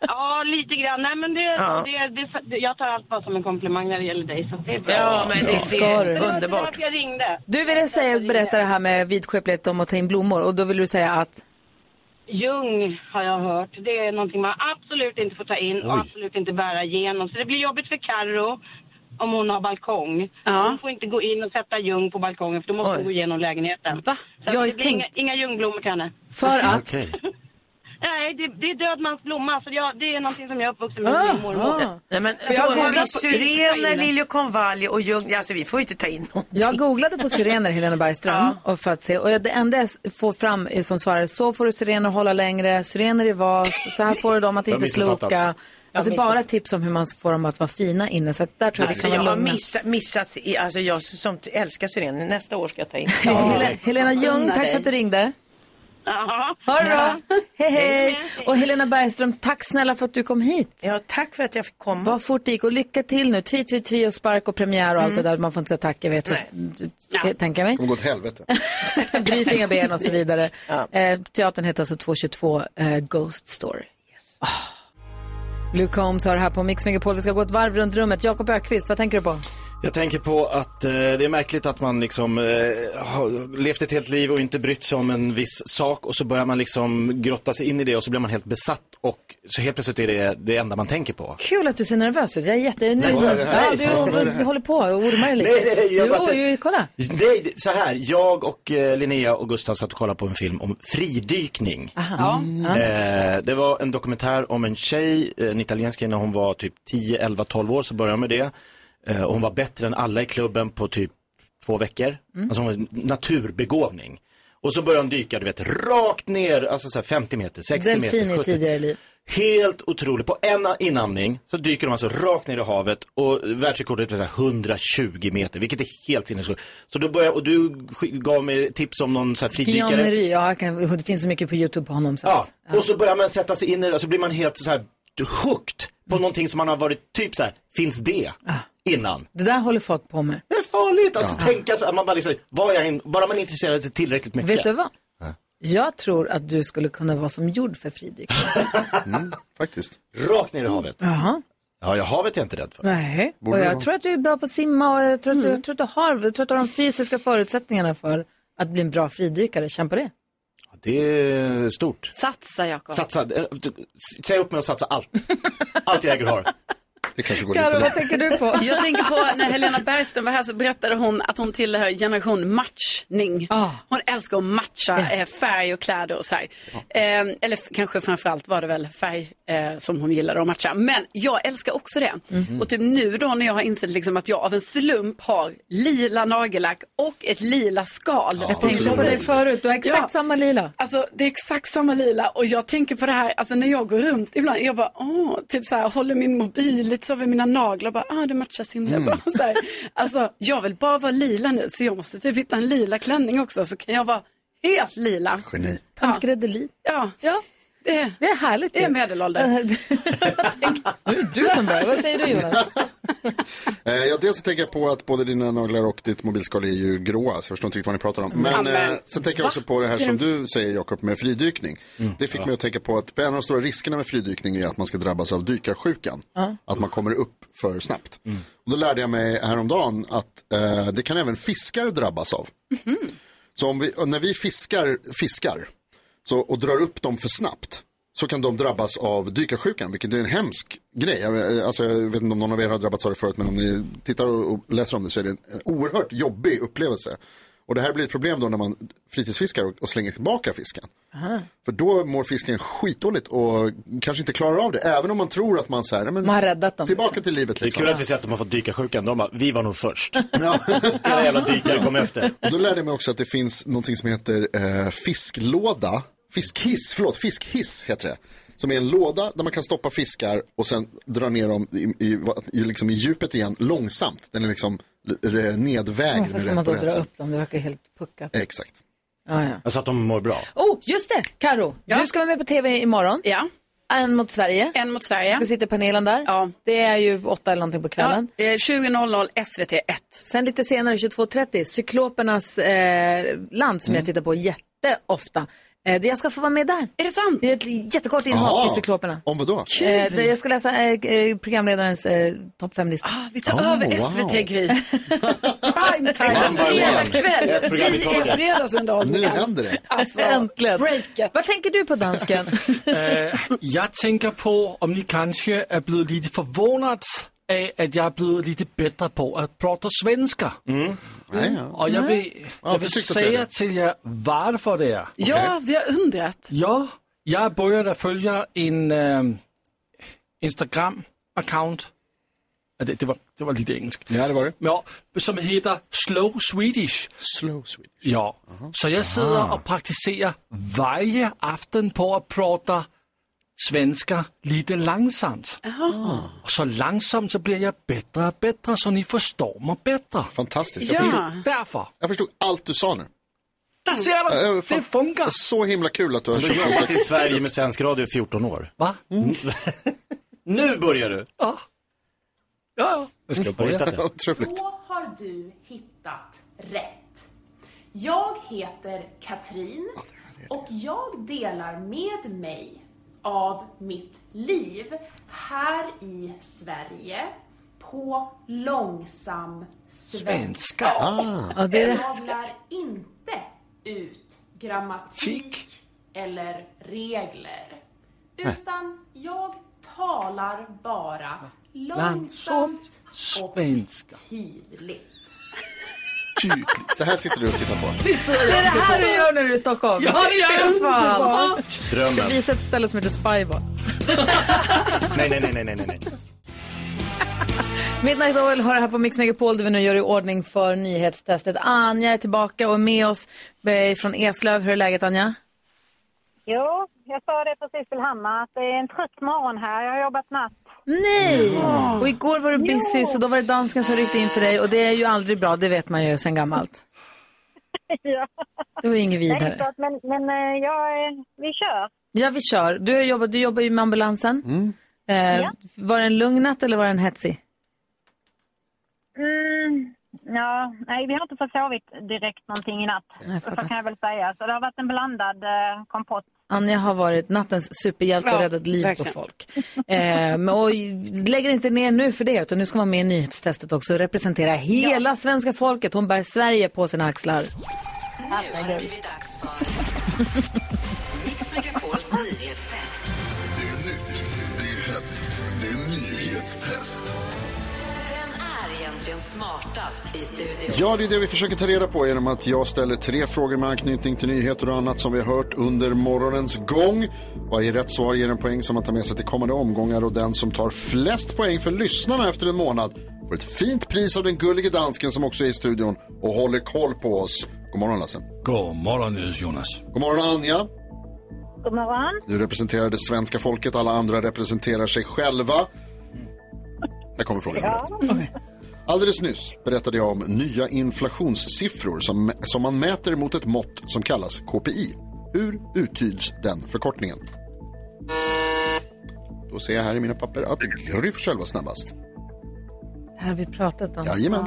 Speaker 13: Ja, lite grann. Nej, men det,
Speaker 10: Ja.
Speaker 13: det, det, jag tar allt bara som en komplimang när det gäller dig. Så det är bra.
Speaker 10: Ja, men det- det är Ska du?
Speaker 13: Det var inte
Speaker 10: underbart.
Speaker 13: därför jag ringde.
Speaker 6: Du ville säga, berätta det här med vidskeplighet om att ta in blommor och då vill du säga att
Speaker 13: Ljung har jag hört. Det är någonting man absolut inte får ta in och absolut inte bära igenom. Så det blir jobbigt för Carro om hon har balkong. Hon får inte gå in och sätta ljung på balkongen för då måste
Speaker 6: Oj.
Speaker 13: hon gå igenom lägenheten. Va? Så
Speaker 6: Jag har
Speaker 13: jag
Speaker 6: ju
Speaker 13: det blir inga,
Speaker 6: tänkt-
Speaker 13: inga ljungblommor till henne.
Speaker 6: för att...
Speaker 13: Nej, det, det är död mans blomma. Så jag, det är någonting som jag är uppvuxen med.
Speaker 10: Ah,
Speaker 13: min mormor.
Speaker 10: ah. Nej, men,
Speaker 13: För jag
Speaker 10: då har
Speaker 13: googlar
Speaker 10: vi
Speaker 13: på-
Speaker 10: syrener, liljekonvalj och ljung. Alltså, vi får ju inte ta in någonting.
Speaker 6: Jag googlade på syrener, Helena Bergström, och för att se. Och det enda jag får fram är som svarar, så får du syrener hålla längre, syrener i vas, så här får du dem att
Speaker 10: Jag har
Speaker 6: inte
Speaker 10: missuppfattat. Jag
Speaker 6: sloka.
Speaker 10: har
Speaker 6: Alltså bara
Speaker 10: missuppfattat.
Speaker 6: tips om hur man får dem att vara fina inne. Så att där tror jag vi
Speaker 10: Alltså,
Speaker 6: kan vara
Speaker 10: jag har
Speaker 6: lugna.
Speaker 10: missat, missat i, alltså jag som t- älskar syrener. Nästa år ska jag ta in.
Speaker 6: Helena Ljung, tack för att du ringde. Ha det bra. Hej, hej. Och Helena Bergström, tack snälla för att du kom hit.
Speaker 10: Ja, tack för att jag fick komma.
Speaker 6: Vad fort det gick och lycka till nu. Tvi, tvi, tvi och spark och premiär och allt
Speaker 10: Mm.
Speaker 6: det där. Man får inte säga tack, jag vet. Nej. Kan jag tänka mig.
Speaker 2: kommer gå åt helvete.
Speaker 6: Bryt inga ben och så vidare. eh, teatern heter alltså 222 eh, Ghost Story. Oh. Ah. Luke Combs har det här på Mix Megapol. Vi ska gå ett varv runt rummet. Jakob Ökvist, vad tänker du på?
Speaker 3: Jag tänker på att eh, det är märkligt att man liksom eh, har levt ett helt liv och inte brytt sig om en viss sak och så börjar man liksom grotta sig in i det och så blir man helt besatt och så helt plötsligt är det det enda man tänker på.
Speaker 6: Kul att du ser nervös ut. Jag är jätte... Nu,
Speaker 3: Nej, vad är det här?
Speaker 6: ja,
Speaker 3: Vad är det
Speaker 6: du,
Speaker 3: här?
Speaker 6: du håller på och ormar dig lite.
Speaker 3: Nej, nej, jag
Speaker 6: jo,
Speaker 3: bara-
Speaker 6: jo, kolla.
Speaker 3: Nej, det- så här. Jag och eh, Linnea och Gustav satt och kollade på en film om fridykning.
Speaker 6: Aha. Mm. Ja.
Speaker 3: Eh, det var en dokumentär om en tjej, eh, en italiensk tjej, när hon var typ 10, 11, 12 år så började hon med det. Eh, och hon var bättre än alla i klubben på typ två veckor.
Speaker 11: Mm.
Speaker 3: Alltså hon var en naturbegåvning. Och så började hon dyka, du vet, rakt ner, alltså så här 50 meter, 60
Speaker 6: Delfin
Speaker 3: meter,
Speaker 6: i
Speaker 3: 70
Speaker 6: tidigare liv.
Speaker 3: Helt otroligt. På en inandning så dyker de alltså rakt ner i havet och världsrekordet är så här 120 meter, vilket är helt sinnessjukt. Så då börjar, och du sk- gav mig tips om någon så här
Speaker 6: Guillaume
Speaker 3: fridykare.
Speaker 6: Mery, ja, jag kan, det finns så mycket på YouTube på honom. Så.
Speaker 3: Ja, och så börjar man sätta sig in i det och så blir man helt så här hooked på någonting som man har varit typ så här, finns det?
Speaker 6: Ah.
Speaker 3: Innan.
Speaker 6: Det där håller folk på med.
Speaker 3: Det är farligt, alltså tänka så att man bara liksom, var jag in, bara man intresserar sig tillräckligt mycket.
Speaker 6: Vet du vad? Jag tror att du skulle kunna vara som jord för fridykning.
Speaker 2: Mm, Faktiskt.
Speaker 3: Rakt ner i havet.
Speaker 6: Jaha.
Speaker 3: Ja, jag havet är jag inte rädd för.
Speaker 6: Nej,
Speaker 3: Borde
Speaker 6: och
Speaker 3: det
Speaker 6: jag
Speaker 3: vara?
Speaker 6: tror att du är bra på att simma och jag tror att,
Speaker 4: Mm.
Speaker 6: du, jag tror att, du, har, jag tror att du har de fysiska förutsättningarna för att bli en bra fridykare. Kämpa det.
Speaker 3: Det är stort.
Speaker 4: Satsa, Jakob.
Speaker 3: Satsa, eh, du- s- säg upp mig och satsa allt. Allt jag äger och har.
Speaker 2: Det kanske
Speaker 4: Jag tänker på när Helena Bergström var här så berättade hon att hon tillhör generation matchning. Hon älskar att matcha eh, färg och kläder och så här. Eh, eller f- kanske framförallt var det väl färg eh, som hon gillade att matcha. Men jag älskar också det.
Speaker 7: Mhm.
Speaker 4: Och typ nu då när jag har insett liksom att jag av en slump har lila nagellack och ett lila skal.
Speaker 6: jag tänkte på dig förut, du har exakt
Speaker 4: Ja.
Speaker 6: samma lila.
Speaker 4: Alltså det är exakt samma lila och jag tänker på det här, alltså när jag går runt ibland, jag bara, åh, typ så här, håller min mobil lite så över mina naglar, bara, ah, det matchar så himla
Speaker 7: Mm.
Speaker 4: bra. Så här. Alltså jag vill bara vara lila nu, så jag måste typ hitta en lila klänning också, så kan jag vara helt lila.
Speaker 2: Geni.
Speaker 6: Tantgrädde li.
Speaker 4: Ja.
Speaker 6: ja.
Speaker 4: Det är,
Speaker 6: det är härligt.
Speaker 4: Det är medelålder.
Speaker 6: Du som börjar, vad säger du Jonas?
Speaker 2: Eh, ja, dels så tänker jag på att både dina naglar och ditt mobilskal är ju gråa, så jag förstår inte riktigt vad ni pratar om.
Speaker 11: Ja,
Speaker 2: Men
Speaker 11: men-
Speaker 2: eh, sen tänker jag
Speaker 11: Va?
Speaker 2: också på det här
Speaker 11: Det är
Speaker 2: som
Speaker 11: en-
Speaker 2: du säger Jakob med fridykning. Det fick mig att tänka på att en av de stora riskerna med fridykning är att man ska drabbas av dykarsjukan.
Speaker 11: Ja.
Speaker 2: Att man kommer upp för snabbt. Och då lärde jag mig häromdagen att eh, det kan även fiskar drabbas av. Så om vi, när vi fiskar, fiskar så, och drar upp dem för snabbt så kan de drabbas av dykarsjukan, vilket är en hemsk grej. Jag, alltså, jag vet inte om någon av er har drabbats av det förut, men om ni tittar och och läser om det så är det en en oerhört jobbig upplevelse. Och det här blir ett problem då när man fritidsfiskar och, och slänger tillbaka fisken. För då mår fisken skitdåligt och kanske inte klarar av det, även om man tror att man så här, men,
Speaker 6: Man har räddat dem.
Speaker 2: tillbaka till livet
Speaker 3: Det är
Speaker 2: liksom.
Speaker 3: kul att vi ser att de har fått dykarsjukan. De bara, vi var nog först.
Speaker 2: Ja.
Speaker 3: Hela jävla dykare kom efter.
Speaker 2: Och då lärde jag mig också att det finns någonting som heter eh, fisklåda. Fiskhiss, förlåt, fiskhiss heter det. Som är en låda där man kan stoppa fiskar och sen dra ner dem i, i, i, liksom i djupet igen långsamt. Den är liksom l- l- nedvägd
Speaker 6: Varför
Speaker 2: med
Speaker 6: ska man
Speaker 2: rätt på
Speaker 6: då
Speaker 2: rätt
Speaker 6: dra
Speaker 2: sätt.
Speaker 6: upp dem? Det verkar helt puckat.
Speaker 2: Exakt.
Speaker 6: Ja, ja.
Speaker 3: Alltså att de mår bra.
Speaker 6: Oh, just det! Karo, du ska vara med på TV imorgon.
Speaker 4: Ja.
Speaker 6: En mot Sverige.
Speaker 4: En mot Sverige.
Speaker 6: Du ska sitta i panelen där.
Speaker 4: Ja.
Speaker 6: Det är ju åtta eller någonting på kvällen.
Speaker 4: Ja, eh, 20.00 SVT 1.
Speaker 6: Sen lite senare, 22.30, Cyklopernas eh, land som jag tittar på jätteofta. Eh, det- jag ska få vara med där.
Speaker 4: Är det sant?
Speaker 6: Det är ett jättekort inhopp i Cykloperna.
Speaker 2: Om vad då?
Speaker 6: Eh, där jag ska läsa eh, eh, programledarens eh, topp fem-lista.
Speaker 4: vi tar Oh, över wow. SVT, Gry. Primetime,
Speaker 6: Man by
Speaker 4: fredag
Speaker 6: one.
Speaker 4: kväll.
Speaker 6: Ett
Speaker 4: Vi
Speaker 6: program i taget.
Speaker 4: är fredagsunderhållningen.
Speaker 2: Nu händer det.
Speaker 4: Alltså,
Speaker 6: Äntligen. Vad tänker du på dansken?
Speaker 5: Eh, jeg tænker på, om ni kanskje er blevet lidt forvånet af, at jeg er blevet lidt bedre på at prate svensker. Og jeg vil,
Speaker 4: Ja,
Speaker 5: jeg
Speaker 4: det
Speaker 5: vil
Speaker 4: tyckte
Speaker 5: sige
Speaker 4: Peter.
Speaker 5: til jer, hvorfor det er.
Speaker 4: Ja, vi har undrat.
Speaker 5: Ja, jeg er begyndt at følge en øh, Instagram-account. Ja, Det, det, var, det var lidt engelsk.
Speaker 2: Ja, det var det.
Speaker 5: Ja, som hedder Slow Swedish.
Speaker 2: Slow Swedish.
Speaker 5: Ja, så jeg sidder
Speaker 2: Aha.
Speaker 5: og praktiserer hver aften på at prate svensker lidt langsomt. Og så langsomt, så bliver jeg bedre og bedre, så ni forstår mig bedre.
Speaker 2: Fantastisk.
Speaker 5: Ja.
Speaker 2: Jag, förstod,
Speaker 5: Därför.
Speaker 2: jag förstod allt du sa nu.
Speaker 5: Där ser du!
Speaker 2: Eh, fan,
Speaker 5: det funkar!
Speaker 2: Så himla kul att du har
Speaker 3: Du har
Speaker 2: köpt
Speaker 3: jobbat i Sverige med svensk radio i 14 år.
Speaker 5: Va?
Speaker 3: nu börjar du!
Speaker 5: Ja. Ja,
Speaker 3: Jag ska börja.
Speaker 2: Otroligt.
Speaker 11: Då har du hittat rätt. Jag heter Katrin och jag delar med mig av mitt liv här i Sverige på långsam svenska.
Speaker 5: Svenska. Ah. Ja, det är
Speaker 11: Jag
Speaker 5: det.
Speaker 11: lär inte ut grammatik eller regler.
Speaker 5: Nej.
Speaker 11: Utan jag talar bara långsamt och
Speaker 5: Svenska.
Speaker 11: tydligt.
Speaker 2: Så här sitter du och tittar på.
Speaker 1: Det är det här du gör när du är i Stockholm.
Speaker 2: Ja, det gör jag.
Speaker 1: Fan.
Speaker 3: Drömmen.
Speaker 1: Ska visa ett ställe som heter Spybar.
Speaker 3: Nej, nej, nej, nej, nej, nej.
Speaker 6: Midnight Oil har det här på Mix Megapol där vi nu gör i ordning för nyhetstestet. Anja är tillbaka och är med oss eh, från Eslöv. Hur är läget Anja?
Speaker 14: Jo, jag sa det precis till Hammar att det är en trött morgon här. Jag har jobbat natt.
Speaker 6: Nej!
Speaker 14: Ja.
Speaker 6: Och igår var du busy så då var det dansken som ryckte in för dig och det är ju aldrig bra, det vet man ju sedan gammalt.
Speaker 14: ja.
Speaker 6: Det var ju inget
Speaker 14: Nej, det är
Speaker 6: vidare.
Speaker 14: klart, men men eh, jag, eh, vi kör.
Speaker 6: Ja, vi kör. Du, har jobbat, du jobbar ju med ambulansen. Eh,
Speaker 14: Ja.
Speaker 6: Var den lugn natt eller var den hetsig?
Speaker 14: Mm, ja, nej, vi har inte försovit direkt någonting i natt.
Speaker 6: Nej, jag
Speaker 14: så
Speaker 6: fattar.
Speaker 14: kan jag väl säga. Så det har varit en blandad eh, kompott.
Speaker 6: Anja har varit nattens superhjälte och
Speaker 14: Ja,
Speaker 6: räddat liv
Speaker 14: verkligen.
Speaker 6: på folk. Eh, men, och lägger inte ner nu för det, utan nu ska man med i nyhetstestet också och representera hela svenska folket. Hon bär Sverige på sina axlar.
Speaker 7: Nu har det blivit dags för Mix Megapols nyhetstest.
Speaker 15: Det är nytt, det är hett, det är nyhetstest.
Speaker 7: Vem är egentligen smartast i studion?
Speaker 2: Ja, det är det vi försöker ta reda på genom att jag ställer tre frågor med anknytning till nyheter och annat som vi har hört under morgonens gång. Varje rätt svar ger en poäng som man tar med sig till kommande omgångar och den som tar flest poäng för lyssnarna efter en månad får ett fint pris av den gullige dansken som också är i studion och håller koll på oss. God morgon Lasse.
Speaker 5: God morgon, Jonas.
Speaker 2: God morgon Anja.
Speaker 14: God morgon.
Speaker 2: Du representerar det svenska folket, alla andra representerar sig själva. Här kommer frågan.
Speaker 14: Ja.
Speaker 2: Alldeles nyss berättade jag om nya inflationssiffror som, som man mäter mot ett mått som kallas KPI. Hur uttyds den förkortningen? Då ser jag här i mina papper att Gry Forssell var snabbast.
Speaker 6: Det här har vi pratat om.
Speaker 2: Jajamän.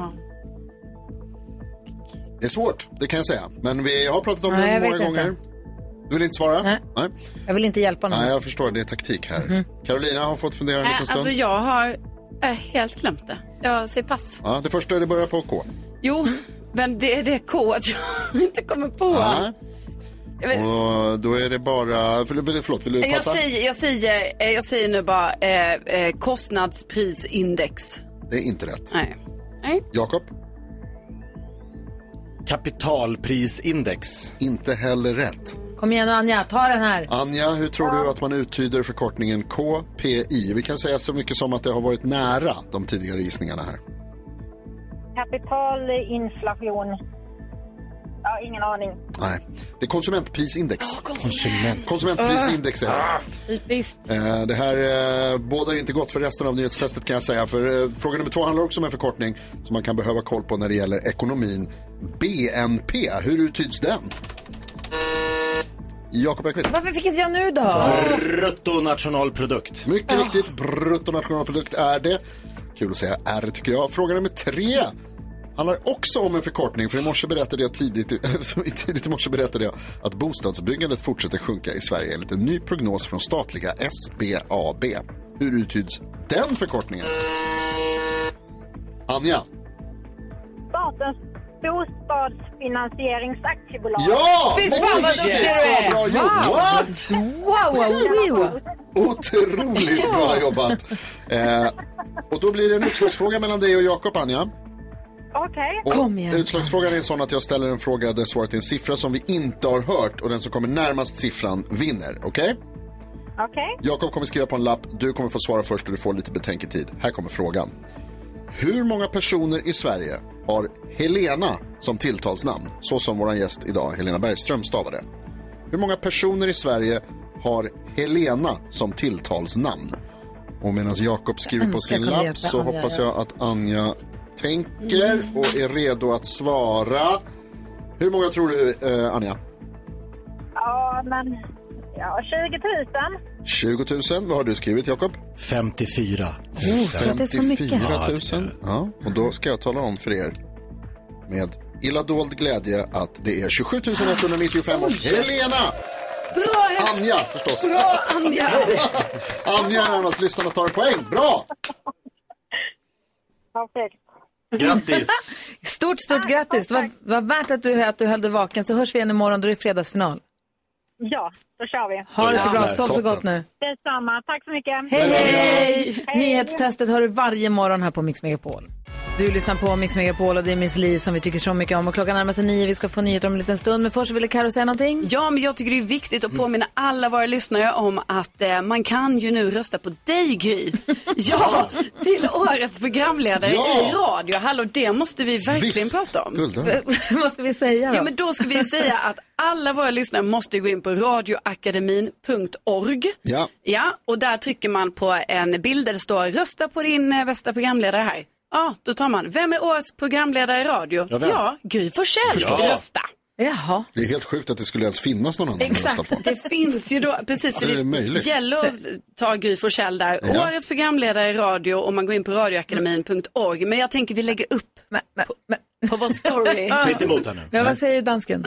Speaker 2: Det är svårt, det kan jag säga. Men vi har pratat om
Speaker 6: Nej,
Speaker 2: det
Speaker 6: jag
Speaker 2: många
Speaker 6: vet inte.
Speaker 2: gånger. Du vill inte svara? Nej. Nej.
Speaker 6: Jag vill inte hjälpa
Speaker 4: Mm.
Speaker 6: någon.
Speaker 2: jag förstår. Det är taktik här. Carolina har fått fundera en
Speaker 4: Äh,
Speaker 2: liten stund.
Speaker 4: Mhm. alltså jag har äh, helt glömt det. Jag säger pass.
Speaker 2: ja, det första är det börjar på K.
Speaker 4: Jo, men det är det K att jag inte kommer på.
Speaker 2: Ja.
Speaker 4: Jag vet-
Speaker 2: Och då är det bara... Förl- Förlåt, vill du
Speaker 4: Jag
Speaker 2: passa?
Speaker 4: säger, jag, säger, eh, jag säger nu bara eh, eh, kostnadsprisindex.
Speaker 2: Det är inte rätt.
Speaker 4: Nej. Nej.
Speaker 2: Jakob?
Speaker 3: Kapitalprisindex.
Speaker 2: Inte heller rätt.
Speaker 6: Kom igen nu Anja, ta den här.
Speaker 2: Anja, hur tror du att man uttyder förkortningen KPI? Vi kan säga så mycket som att det har varit nära de tidigare gissningarna här.
Speaker 14: eh, Kapitalinflation. Ja, ingen aning.
Speaker 2: Nej, det är konsumentprisindex.
Speaker 3: konsument.
Speaker 2: Konsumentprisindex är det.
Speaker 6: Typiskt.
Speaker 2: Eh, Det här eh, bådar inte gott för resten av nyhetstestet kan jag säga. För eh, fråga nummer två handlar också om en förkortning som man kan behöva koll på när det gäller ekonomin. BNP, hur uttyds den? Jakob Ekqvist.
Speaker 6: Varför fick inte jag nu då?
Speaker 3: Bruttonationalprodukt.
Speaker 2: Mycket riktigt, bruttonationalprodukt är det. Kul att säga R tycker jag. Fråga nummer tre handlar också om en förkortning. För i morse berättade jag tidigt, i- tidigt i morse berättade jag att bostadsbyggandet fortsätter sjunka i Sverige enligt en ny prognos från statliga SBAB. Hur uttyds den förkortningen? Anja.
Speaker 14: Statens bostadsfinansieringsaktiebolag.
Speaker 2: Ja! Så bra gjort!
Speaker 6: Wow, wow, wow.
Speaker 2: Otroligt bra jobbat! Eh, och då blir det en utslagsfråga mellan dig och Jakob, Anja.
Speaker 14: Okej.
Speaker 2: Och Utslagsfrågan är sån att jag ställer en fråga där svaret är en siffra som vi inte har hört och den som kommer närmast siffran vinner. Okej?
Speaker 14: Okej.
Speaker 2: Jakob kommer skriva på en lapp, du kommer få svara först och du får lite betänketid. Här kommer frågan. Hur många personer i Sverige har Helena som tilltalsnamn? Så som vår gäst idag, Helena Bergström, stavade. Hur många personer i Sverige har Helena som tilltalsnamn? Och medan Jakob skriver
Speaker 15: Jag
Speaker 2: på
Speaker 15: önskar
Speaker 2: sin
Speaker 15: Mm, jag kunde hjälpa
Speaker 2: lapp så
Speaker 15: Anja,
Speaker 2: hoppas
Speaker 15: ja.
Speaker 2: jag att Anja tänker och är redo att svara. Hur många tror du, eh, Anja?
Speaker 14: Ja, men... Ja, 20 000.
Speaker 2: 20 000. Vad har du skrivit, Jakob?
Speaker 3: 54.
Speaker 14: Oh, tror att det är så mycket.
Speaker 2: 54
Speaker 14: Ja, det
Speaker 2: 000. Ja, och då ska jag tala om för er med illa dold glädje att det är 27 195 och Helena!
Speaker 4: Bra,
Speaker 2: Anja förstås.
Speaker 4: Bra, Anja.
Speaker 2: Anja är närmast lyssnarna tar en poäng. Bra!
Speaker 14: Perfekt.
Speaker 3: Grattis!
Speaker 6: Stort, stort grattis. Det var, var värt att du, att du höll dig vaken. Så hörs vi igen imorgon då det är fredagsfinal.
Speaker 14: Ja, då kör vi.
Speaker 6: Ha det så bra. Sov så gott nu.
Speaker 14: Detsamma. Tack så mycket.
Speaker 6: Hej, hej! Nyhetstestet hör du varje morgon här på Mix Megapol. Du lyssnar på Mix Megapol och det är Miss Li som vi tycker så mycket om. Och klockan närmar sig nio, vi ska få nyheter om en liten stund. Men först ville Karo säga någonting.
Speaker 4: Ja, men jag tycker det är viktigt att påminna alla våra lyssnare om att eh, man kan ju nu rösta på dig, Gry. ja, till årets programledare
Speaker 6: Ja.
Speaker 4: i radio. Hallå, det måste vi verkligen
Speaker 6: Visst,
Speaker 4: prata om.
Speaker 6: guldöron. Vad ska vi säga då?
Speaker 4: Ja, men då ska vi ju säga att alla våra lyssnare måste gå in på radioakademin.org.
Speaker 2: Ja.
Speaker 4: Ja, och där trycker man på en bild där det står rösta på din eh, bästa programledare här. Ja, då tar man, vem är årets programledare i radio?
Speaker 2: Ja, vem?
Speaker 4: Ja, Gry Forssell.
Speaker 2: Förstås.
Speaker 4: Rösta.
Speaker 6: Jaha.
Speaker 2: Det är helt sjukt att det skulle ens finnas någon annan att rösta
Speaker 4: Exakt,
Speaker 2: på.
Speaker 4: det finns ju då, precis, så
Speaker 2: Hur är det
Speaker 4: det
Speaker 2: möjligt?
Speaker 4: gäller att ta Gry Forssell där.
Speaker 2: Ja.
Speaker 4: Årets programledare i radio om man går in på radioakademin.org. Men jag tänker vi lägger upp på, på vår story.
Speaker 5: Säg inte emot här nu.
Speaker 6: Ja, vad säger dansken?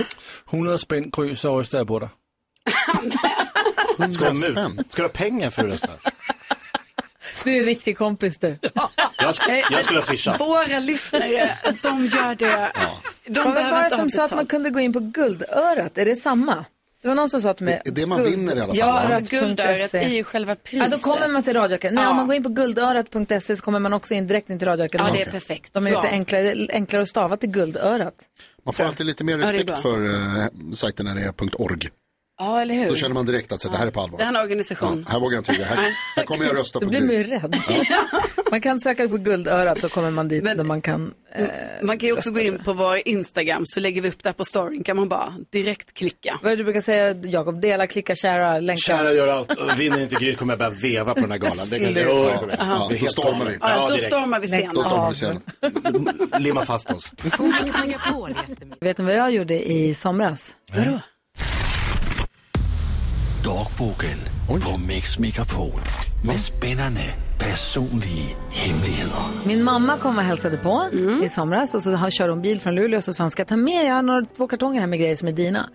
Speaker 5: 100 spänn, Gry, så röstar jag på dig.
Speaker 3: Ska du ha mut? Ska du ha pengar för att rösta?
Speaker 6: Du är en riktig kompis du.
Speaker 3: Jag, sk- jag skulle ha swishat.
Speaker 4: Våra lyssnare, de gör det. De
Speaker 6: det var
Speaker 4: behöver
Speaker 6: bara
Speaker 4: inte ha
Speaker 6: som sa att man
Speaker 4: betalt.
Speaker 6: kunde gå in på guldörat, är det samma? Det var någon som sa till mig.
Speaker 2: Det är det man vinner i alla fall,
Speaker 6: Ja,
Speaker 2: va?
Speaker 6: örat.se.
Speaker 4: alltså, Guldörat är eh, ju själva
Speaker 6: E. Ja,
Speaker 4: priset.
Speaker 6: då kommer man till radioakademin. Nej, om man går in på guldörat.se E så kommer man också in direkt in till radioakademin.
Speaker 4: Ja, det är perfekt.
Speaker 6: De har gjort det
Speaker 4: Ja.
Speaker 6: enklare, enklare att stava till guldörat.
Speaker 2: Man får alltid lite mer
Speaker 6: Ja, det är
Speaker 2: respekt
Speaker 6: bra.
Speaker 2: för uh, sajten när det är .org.
Speaker 4: Ja, eller hur?
Speaker 2: Då känner man direkt att så, det här är på allvar.
Speaker 4: Det här är en organisation.
Speaker 2: Här vågar jag inte ljuga. Här, här kommer jag rösta på
Speaker 6: Då blir
Speaker 2: Gry.
Speaker 6: man ju rädd. Man kan söka på guldörat så kommer man dit där man kan... Eh,
Speaker 4: Man kan ju också gå in på vår Instagram så lägger vi upp där på storyn. Kan man bara direkt klicka.
Speaker 6: vad är det du brukar säga Jakob? Dela, klicka, kära, länka.
Speaker 3: Kära gör allt. Och Vinner inte Gry kommer jag börja veva på den här galan. Det kan,
Speaker 6: Sluta.
Speaker 3: oh, det kommer jag.
Speaker 6: Aha.
Speaker 3: Det är
Speaker 6: Då
Speaker 3: helt
Speaker 6: stormar
Speaker 3: galet.
Speaker 6: vi.
Speaker 4: Ja,
Speaker 3: Ja,
Speaker 4: då
Speaker 3: direkt.
Speaker 4: stormar vi scenen.
Speaker 3: Då stormar vi
Speaker 4: Ja.
Speaker 3: scenen. Limma fast oss.
Speaker 6: Vet ni vad jag gjorde i somras? Vadå?
Speaker 16: Dogbogen på Mix Megapol. Med spännande personliga hemligheter.
Speaker 6: Min mamma kom och hälsade på i somras och så har- kör hon bil från Luleå och så sa hon, ska jag ta med, jag har några, två kartonger här med grejer som är dina.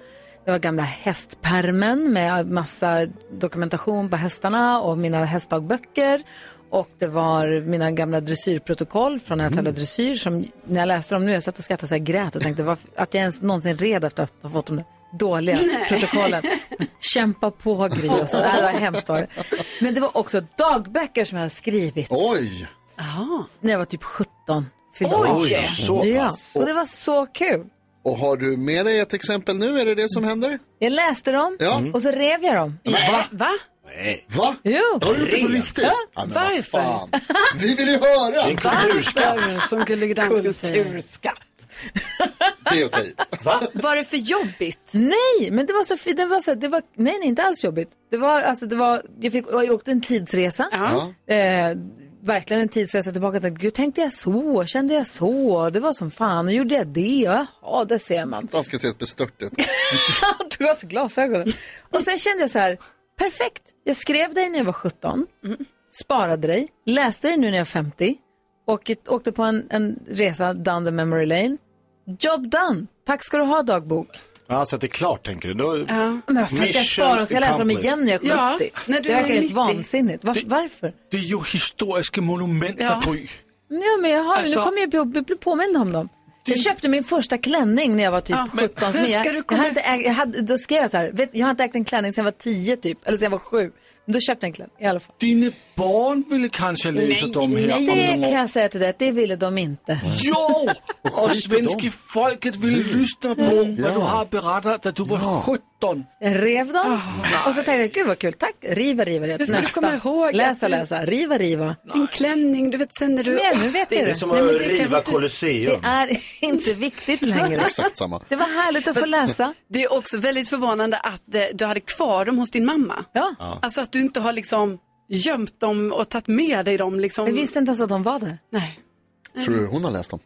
Speaker 6: Det var gamla hästpermen med massa dokumentation på hästarna och mina hästdagböcker. Och det var mina gamla dressyrprotokoll från när jag tävlade dressyr som när jag läste dem nu, jag satt och skrattade så jag grät och tänkte varför, att jag ens någonsin red efter att ha fått de där dåliga
Speaker 11: Nej.
Speaker 6: protokollen. Kämpa på Gry och så, Nej, det var hemskt var det. Men det var också dagböcker som jag har skrivit.
Speaker 2: Oj!
Speaker 6: När jag var typ 17. fyllde
Speaker 2: Oj,
Speaker 6: år.
Speaker 2: Oj, så
Speaker 6: ja.
Speaker 2: pass.
Speaker 6: Och det var så kul.
Speaker 2: Och har du med dig ett exempel nu? Är det det som händer?
Speaker 6: Jag läste dem
Speaker 2: Ja. Mm.
Speaker 6: och så rev jag dem.
Speaker 2: Va?
Speaker 4: Va?
Speaker 3: Nej.
Speaker 2: Va?
Speaker 6: Jo.
Speaker 2: Har du gjort det på riktigt?
Speaker 6: Ja.
Speaker 2: men vad
Speaker 6: Varför?
Speaker 2: fan. Vi vill ju höra!
Speaker 6: Det är en kulturskatt. Varför? Som
Speaker 4: Gullige
Speaker 6: dansken säger. Kulturskatt.
Speaker 2: Det är okej.
Speaker 4: Var det för jobbigt?
Speaker 6: Nej, men det var så fint. Det var så det var, nej, nej, inte alls jobbigt. Det var, alltså, det var, jag, fick, jag åkte en tidsresa. Eh, verkligen en tidsresa tillbaka. Jag tänkte, Gud, tänkte jag så? Kände jag så? Det var som fan. Och gjorde jag det? Och, Ja, det ser man.
Speaker 2: Han ska se ett bestört ut.
Speaker 6: Han tog av sig glasögonen. Och sen kände jag så här, perfekt. Jag skrev dig när jag var 17, sparade dig, läste dig nu när jag är 50 och åkte på en, en resa down the memory lane. Job done! Tack ska du ha dagbok.
Speaker 3: Ja, så att det är klart tänker du. Då...
Speaker 6: Men vad fan ska jag spara dem? Ska jag läsa dem igen när jag är 70?
Speaker 4: Ja,
Speaker 6: när
Speaker 4: när
Speaker 6: du
Speaker 4: du
Speaker 6: det verkar
Speaker 4: är
Speaker 6: helt
Speaker 4: 90.
Speaker 6: vansinnigt. Var, varför?
Speaker 5: Det är ju historiska monument,
Speaker 6: Ja.
Speaker 5: Gry.
Speaker 6: Ja, men jag har,
Speaker 5: Alltså-
Speaker 6: nu kommer jag på- bli påmind om dem. Jag köpte min första klänning när jag var typ
Speaker 4: Ja, men
Speaker 6: 17.
Speaker 4: hur
Speaker 6: som jag,
Speaker 4: ska du
Speaker 6: jag
Speaker 4: komma-
Speaker 6: hade inte ägt, jag hade, då skrev jag så här, vet, jag har inte ägt en klänning sedan jag var 10 typ, eller sedan jag var 7. Men då köpte jag en klänning i alla fall.
Speaker 5: Dina barn ville kanske läsa dem här om
Speaker 6: det
Speaker 5: några
Speaker 6: kan
Speaker 5: år.
Speaker 6: jag säga till dig, att det ville de inte.
Speaker 5: Jo! Och svenska folket vill lyssna på
Speaker 6: Mm.
Speaker 5: vad du
Speaker 6: Ja.
Speaker 5: har berättat när du var 17.
Speaker 6: Jag rev dem och så tänkte jag, gud vad kul, tack, riva, riva, riva.
Speaker 4: Ah, Hur ska du
Speaker 6: Nästa.
Speaker 4: komma ihåg att
Speaker 6: läsa,
Speaker 4: du-
Speaker 6: läsa, riva, riva.
Speaker 4: Din klänning, du vet sen när du...
Speaker 6: Men nu vet
Speaker 3: Det
Speaker 6: jag
Speaker 3: är
Speaker 6: det.
Speaker 3: som
Speaker 6: Nej,
Speaker 3: att
Speaker 6: men det kan
Speaker 3: riva
Speaker 6: inte-
Speaker 3: Colosseum.
Speaker 6: Det är inte viktigt längre.
Speaker 2: Exakt samma.
Speaker 6: Det var härligt att få läsa.
Speaker 4: Det är också väldigt förvånande att eh, du hade kvar dem hos din mamma.
Speaker 6: Ja.
Speaker 4: Alltså att du inte har liksom gömt dem och tagit med dig dem liksom.
Speaker 6: Jag visste inte ens att de var där.
Speaker 4: Nej.
Speaker 2: Tror du hon har läst dem?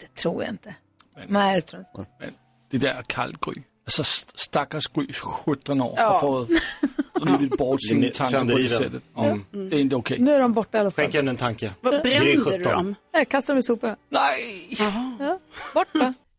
Speaker 6: Det tror jag inte. Nej, jag tror inte.
Speaker 5: det där Karl Gry. Alltså st- stackars Grys 17 år
Speaker 17: Ja.
Speaker 5: har fått rivit bort
Speaker 3: Den är
Speaker 5: sina tankar på det
Speaker 3: sönderdriven.
Speaker 5: sättet. Mm.
Speaker 17: Mm.
Speaker 5: Det är inte okej.
Speaker 17: Nu är de borta i alla fall.
Speaker 3: Skänk henne en tanke.
Speaker 6: Vad
Speaker 3: Gry,
Speaker 6: brände du
Speaker 3: 17.
Speaker 6: dem?
Speaker 17: Nej, kastar dem i soporna.
Speaker 5: Nej!
Speaker 17: Ja, bort va?